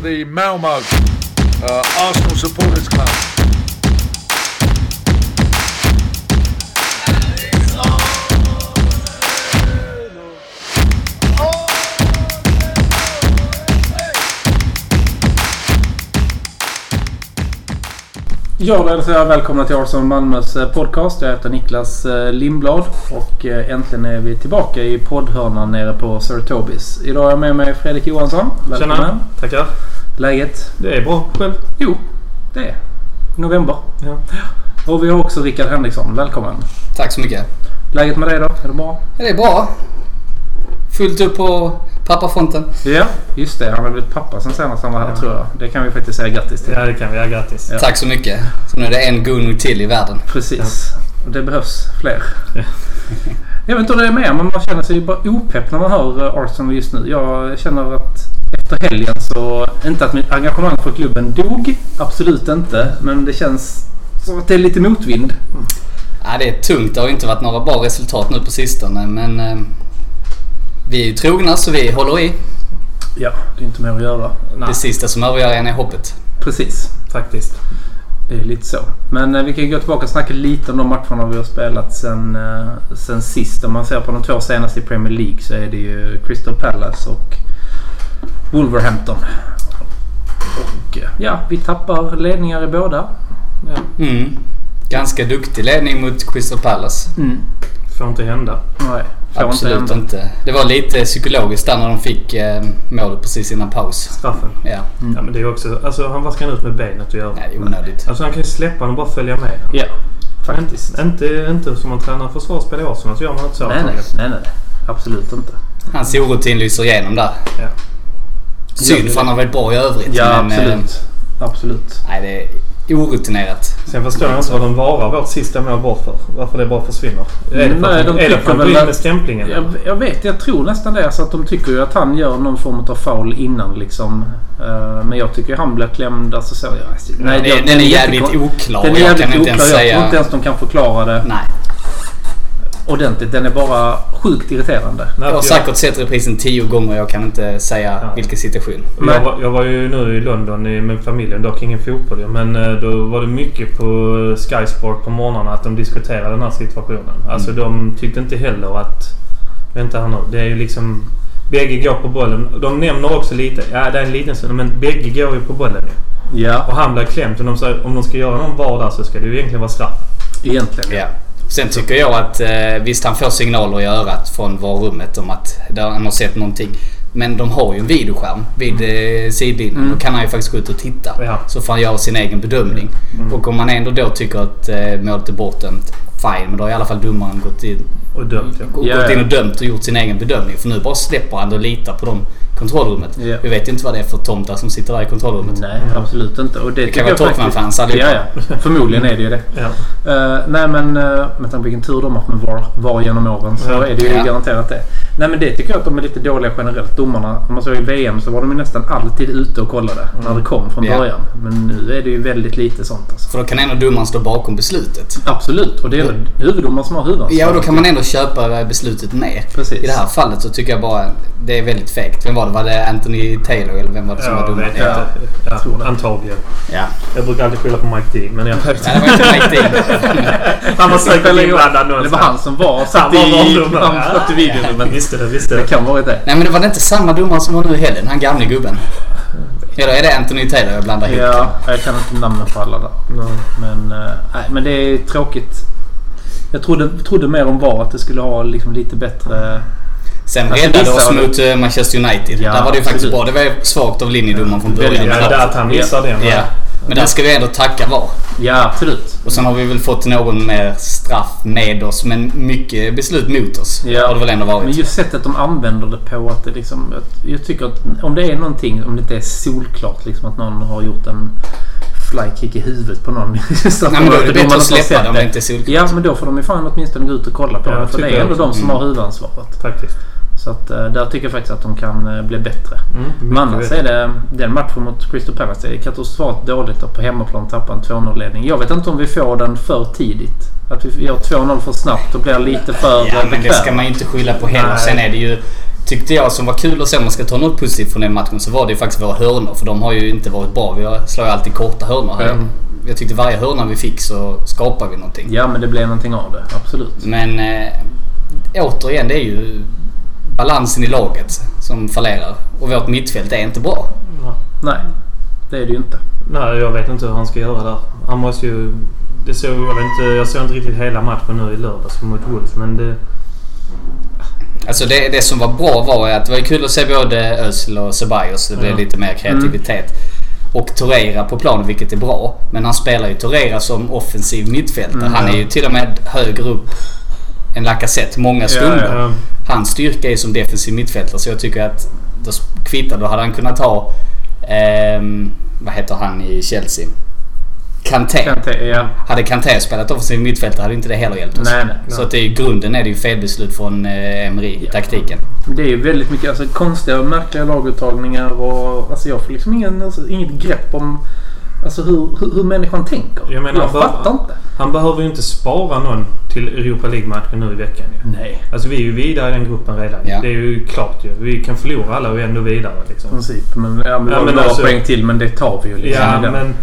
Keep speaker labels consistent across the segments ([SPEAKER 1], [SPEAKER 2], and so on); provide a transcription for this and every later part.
[SPEAKER 1] the Malmo uh, Arsenal Supporters Club.
[SPEAKER 2] Ja, då hälsar jag välkomna till Arsenal Malmös eh, podcast. Jag heter Niklas eh, Lindblad och eh, äntligen är vi tillbaka i poddhörnan nere på Sir Tobis. Idag har jag med mig Fredrik Johansson. Välkommen.
[SPEAKER 3] Tjena! Tackar!
[SPEAKER 2] Läget?
[SPEAKER 3] Det är bra. Själv?
[SPEAKER 2] Jo, det är november.
[SPEAKER 3] Ja.
[SPEAKER 2] Och vi har också Rickard Henriksson. Välkommen.
[SPEAKER 4] Tack så mycket.
[SPEAKER 2] Läget med dig då? Är det bra?
[SPEAKER 4] Ja, det är bra. Fullt upp på pappafronten.
[SPEAKER 2] Ja, just det. Han har blivit pappa sen senast han var här
[SPEAKER 3] Ja.
[SPEAKER 2] tror jag. Det kan vi faktiskt säga grattis till.
[SPEAKER 3] Ja, det kan vi. Ja, grattis.
[SPEAKER 2] Ja.
[SPEAKER 4] Tack så mycket. Så nu är det en Gunung till i världen.
[SPEAKER 2] Precis. Det behövs fler.
[SPEAKER 3] Ja.
[SPEAKER 2] Jag vet inte hur det är med men man känner sig ju bara opepp när man hör eh, Arsenal just nu. Jag känner att efter helgen så... Inte att mitt engagemang för klubben dog. Absolut inte. Men det känns som att det är lite motvind.
[SPEAKER 4] Ja, det är tungt. Det har ju inte varit några bra resultat nu på sistone, men eh, vi är ju trogna så vi håller i.
[SPEAKER 2] Ja, det är inte mer att göra.
[SPEAKER 3] Nej,
[SPEAKER 4] Det sista som övergör en är hoppet.
[SPEAKER 2] Precis.
[SPEAKER 3] faktiskt.
[SPEAKER 2] Det är lite så. Men eh, vi kan ju gå tillbaka och snacka lite om de matcherna vi har spelat sen, eh, sen sist. Om man ser på de två senaste i Premier League så är det ju Crystal Palace och Wolverhampton. Och eh, ja, vi tappar ledningar i båda.
[SPEAKER 3] Ja.
[SPEAKER 4] Mm. Ganska duktig ledning mot Crystal Palace.
[SPEAKER 3] Får inte hända.
[SPEAKER 2] Nej, får
[SPEAKER 4] Mm. Absolut
[SPEAKER 2] inte
[SPEAKER 4] inte,
[SPEAKER 2] hända.
[SPEAKER 4] Det var lite psykologiskt där när de fick eh, målet precis innan paus.
[SPEAKER 3] Straffen.
[SPEAKER 4] Ja,
[SPEAKER 2] Mm.
[SPEAKER 3] Ja, men det är också... Alltså, han, vad ska han ut med benet och göra?
[SPEAKER 4] nej, det är onödigt.
[SPEAKER 3] Alltså, han kan ju släppa den och bara följa med.
[SPEAKER 2] Ja, faktiskt.
[SPEAKER 3] Men Inte, inte som man tränar försvarsspel i Arsenal så gör man inte så.
[SPEAKER 2] Nej, nej, nej, nej. Absolut inte.
[SPEAKER 4] Hans orutin lyser igenom där.
[SPEAKER 3] Ja.
[SPEAKER 4] Synd, för han har varit bra i övrigt.
[SPEAKER 2] Ja,
[SPEAKER 4] men, eh,
[SPEAKER 2] absolut. Absolut.
[SPEAKER 4] Nej, det är orutinerat.
[SPEAKER 3] Sen förstår jag inte vad de varar vårt sista mål bort för. Varför det bara försvinner. Är det för,
[SPEAKER 2] Nej,
[SPEAKER 3] att-
[SPEAKER 2] de
[SPEAKER 3] är det för
[SPEAKER 2] tycker
[SPEAKER 3] att gå
[SPEAKER 2] väl
[SPEAKER 3] in
[SPEAKER 2] att-
[SPEAKER 3] med stämplingen?
[SPEAKER 2] Jag, jag vet, jag tror nästan det. Så att de tycker ju att han gör någon form av foul innan liksom. Eh, Men jag tycker ju han blir klämd. Alltså, så, jag, alltså, nej,
[SPEAKER 4] den,
[SPEAKER 2] jag-
[SPEAKER 4] är- den är jävligt
[SPEAKER 2] jättekon-
[SPEAKER 4] oklar.
[SPEAKER 2] Den är
[SPEAKER 4] jag
[SPEAKER 2] jävligt
[SPEAKER 4] kan inte
[SPEAKER 2] oklar.
[SPEAKER 4] ens
[SPEAKER 2] Jag tror inte
[SPEAKER 4] säga...
[SPEAKER 2] ens de kan förklara det
[SPEAKER 4] Nej.
[SPEAKER 2] ordentligt. Den är bara sjukt irriterande.
[SPEAKER 3] Nej,
[SPEAKER 4] Jag har
[SPEAKER 3] för jag,
[SPEAKER 4] säkert sett reprisen tio gånger jag kan inte säga
[SPEAKER 3] Ja.
[SPEAKER 4] vilken situation.
[SPEAKER 3] jag, var, jag var ju nu i London i- med familjen, dock ingen fotboll ju, Men eh, då var det mycket på eh, Sky Sport på morgnarna att de diskuterade den här situationen. Alltså
[SPEAKER 2] Mm.
[SPEAKER 3] de tyckte inte heller att... Vänta här nu. Det är ju liksom... Bägge går på bollen. De nämner också lite. Ja, det är en liten stund. Men bägge går ju på bollen ju.
[SPEAKER 2] Ja,
[SPEAKER 3] Och han blir klämd. Och de säger, om de ska göra någon VAR där så ska det ju egentligen vara straff.
[SPEAKER 2] egentligen.
[SPEAKER 4] Ja. Sen tycker jag att eh, visst han får signaler i örat från varummet om att där han har sett någonting. Men de har ju en videoskärm vid eh, sidlinjen. Då kan han ju faktiskt gå ut och titta.
[SPEAKER 3] Ja.
[SPEAKER 4] Så får han göra sin egen bedömning. Och om man ändå då tycker att eh, målet är bortdömt, fine. Men då har i alla fall domaren gått in
[SPEAKER 3] Och dömt ja.
[SPEAKER 4] och
[SPEAKER 2] Ja,
[SPEAKER 4] gått
[SPEAKER 2] ja.
[SPEAKER 4] in och dömt och gjort sin egen bedömning. För nu bara släpper han och litar på dem i kontrollrummet.
[SPEAKER 2] Ja. Mm.
[SPEAKER 4] Vi vet ju inte vad det är för tomtar som sitter där i kontrollrummet.
[SPEAKER 2] Nej, absolut inte. Och det,
[SPEAKER 4] kan
[SPEAKER 2] tycker
[SPEAKER 4] vara
[SPEAKER 2] jag faktiskt-
[SPEAKER 4] Tottenham-fans allihopa.
[SPEAKER 2] Ja, ja. Förmodligen är det ju det.
[SPEAKER 3] ja.
[SPEAKER 2] Eh, nej men eh, med tanke på vilken tur de har haft med VAR, VAR genom åren så
[SPEAKER 3] Ja.
[SPEAKER 2] är det ju
[SPEAKER 4] Ja.
[SPEAKER 2] garanterat det. Nej men det tycker jag att de är lite dåliga generellt. Domarna, om man såg i VM så var de ju nästan alltid ute och kollade när det kom från
[SPEAKER 4] Ja.
[SPEAKER 2] början. Men nu är det ju väldigt lite sånt alltså.
[SPEAKER 4] För då kan ändå domaren stå bakom beslutet.
[SPEAKER 2] Absolut, och det är väl huvuddomaren som har huvudansvaret.
[SPEAKER 4] Ja, och då kan man ändå köpa eh, beslutet med.
[SPEAKER 2] Precis.
[SPEAKER 4] I det här fallet så tycker jag bara det är väldigt fegt. Vem var det? Var det Anthony Taylor eller vem var det som var
[SPEAKER 3] jag
[SPEAKER 4] domare?
[SPEAKER 3] vet
[SPEAKER 4] Ja.
[SPEAKER 3] inte.
[SPEAKER 2] tror
[SPEAKER 3] Ja,
[SPEAKER 2] det.
[SPEAKER 3] antagligen.
[SPEAKER 4] Ja.
[SPEAKER 3] Jag brukar alltid skylla på Mike D. Men jag
[SPEAKER 4] ja, det var inte riktigt.
[SPEAKER 3] Han var säkert
[SPEAKER 2] Eller-
[SPEAKER 3] inblandad
[SPEAKER 2] Det var han som var
[SPEAKER 3] Han
[SPEAKER 2] satt
[SPEAKER 3] var
[SPEAKER 2] i,
[SPEAKER 3] vår domare.
[SPEAKER 2] han satt i videorummet.
[SPEAKER 3] Visste det, visste
[SPEAKER 2] Det
[SPEAKER 3] det.
[SPEAKER 2] kan vara det.
[SPEAKER 4] Nej, men det var det inte samma domare som var nu i helgen? Han gamle gubben. Eller är det Anthony Taylor jag blandar ihop?
[SPEAKER 2] Ja, jag kan inte namnen på alla där. Men, eh, nej, men det är tråkigt. Jag trodde, trodde mer om VAR att det skulle ha liksom lite bättre...
[SPEAKER 4] Sen
[SPEAKER 2] Alltså,
[SPEAKER 4] räddade
[SPEAKER 2] vissa-
[SPEAKER 4] oss mot eh, Manchester United.
[SPEAKER 2] Ja,
[SPEAKER 4] där var det ju faktiskt
[SPEAKER 2] absolut.
[SPEAKER 4] bra. Det var ju svagt av linjedomaren från början.
[SPEAKER 3] Ja,
[SPEAKER 4] men,
[SPEAKER 3] där att han missar den.
[SPEAKER 4] ja. men där ska vi ändå tacka VAR.
[SPEAKER 2] Ja, absolut.
[SPEAKER 4] Och sen har vi väl fått någon mer straff med oss, men mycket beslut mot oss.
[SPEAKER 2] Ja.
[SPEAKER 4] Har det väl ändå varit.
[SPEAKER 2] Men just sättet de använder det på att det liksom... att- Jag tycker att om det är någonting, om det inte är solklart liksom att någon har gjort en flykick i huvudet på någon. så att
[SPEAKER 4] Nej, men då är
[SPEAKER 2] de- de
[SPEAKER 4] det bättre
[SPEAKER 2] har
[SPEAKER 4] att släppa
[SPEAKER 2] sett
[SPEAKER 4] dem,
[SPEAKER 2] det.
[SPEAKER 4] inte solklart.
[SPEAKER 2] Ja, men då får de ju fan åtminstone gå ut och kolla på
[SPEAKER 3] Ja,
[SPEAKER 2] det. För det
[SPEAKER 3] tycker
[SPEAKER 2] är
[SPEAKER 3] jag
[SPEAKER 2] ändå de
[SPEAKER 3] också.
[SPEAKER 2] som har
[SPEAKER 4] Mm.
[SPEAKER 2] huvudansvaret.
[SPEAKER 3] Faktiskt.
[SPEAKER 2] Så att, eh, där tycker jag faktiskt att de kan eh, bli bättre.
[SPEAKER 3] Mm,
[SPEAKER 2] Men annars
[SPEAKER 3] mycket
[SPEAKER 2] är det den matchen mot Crystal Palace. Det är katastrofalt dåligt att på hemmaplan tappa en 2-0-ledning. Jag vet inte om vi får den för tidigt. Att vi gör 2-0 för snabbt och blir lite för
[SPEAKER 4] Ja,
[SPEAKER 2] eh,
[SPEAKER 4] men det
[SPEAKER 2] bekväma.
[SPEAKER 4] ska man ju inte skylla på heller.
[SPEAKER 3] Nej.
[SPEAKER 4] Sen är det ju... tyckte jag som var kul att se om man ska ta något positivt från den matchen så var det ju faktiskt våra hörnor för de har ju inte varit bra. Vi har- slår ju alltid korta hörnor här.
[SPEAKER 2] Mm.
[SPEAKER 4] Jag tyckte varje hörna vi fick så skapade vi någonting.
[SPEAKER 2] Ja, men det blev någonting av det. Absolut.
[SPEAKER 4] Men eh, återigen, det är ju balansen i laget som fallerar. Och vårt mittfält är inte bra.
[SPEAKER 3] Ja.
[SPEAKER 2] Nej, det är det ju inte.
[SPEAKER 3] Nej, jag vet inte hur han ska göra där. Han måste ju... Det såg, jag, vet inte, jag såg inte riktigt hela matchen nu i lördags mot Wolves, men det...
[SPEAKER 4] Alltså det, det som var bra var att det var kul att se både Özil och Ceballos. Det blev
[SPEAKER 3] Ja.
[SPEAKER 4] lite
[SPEAKER 2] Mm.
[SPEAKER 4] mer kreativitet. Och Torreira på planen, vilket är bra. Men han spelar ju Torreira som offensiv mittfältare.
[SPEAKER 2] Mm,
[SPEAKER 4] Han är
[SPEAKER 2] ja.
[SPEAKER 4] ju till och med högre upp än Lacazette många stunder.
[SPEAKER 2] Ja.
[SPEAKER 3] Eh,
[SPEAKER 4] Hans styrka är som defensiv mittfältare så jag tycker att då sp- kvittar. Då hade han kunnat ha... ehm, vad heter han i Chelsea? Kanté.
[SPEAKER 2] Kanté, ja.
[SPEAKER 4] Hade Kanté spelat offensiv mittfältare hade inte det heller hjälpt oss.
[SPEAKER 2] Nej, nej.
[SPEAKER 4] Så att det är, i grunden är det ju felbeslut från eh, Emery,
[SPEAKER 2] Ja.
[SPEAKER 4] taktiken.
[SPEAKER 2] Det är ju väldigt mycket alltså, konstiga och märkliga laguttagningar. Och, alltså, jag får liksom ingen, alltså, inget grepp om alltså, hur, hur, hur människan tänker.
[SPEAKER 3] Jag menar, bara-
[SPEAKER 2] fattar inte.
[SPEAKER 3] Han behöver ju inte spara någon till Europa League-matchen nu i veckan ju.
[SPEAKER 2] Nej.
[SPEAKER 3] Alltså vi är ju vidare i den gruppen redan.
[SPEAKER 4] Ja.
[SPEAKER 3] Det är ju klart ju. Vi kan förlora alla och är ändå vidare liksom.
[SPEAKER 2] I princip. Men, ja, men, det
[SPEAKER 3] Ja,
[SPEAKER 2] var
[SPEAKER 3] men
[SPEAKER 2] några
[SPEAKER 3] alltså-
[SPEAKER 2] poäng till, men det tar vi ju liksom.
[SPEAKER 3] Ja,
[SPEAKER 2] i den.
[SPEAKER 3] men...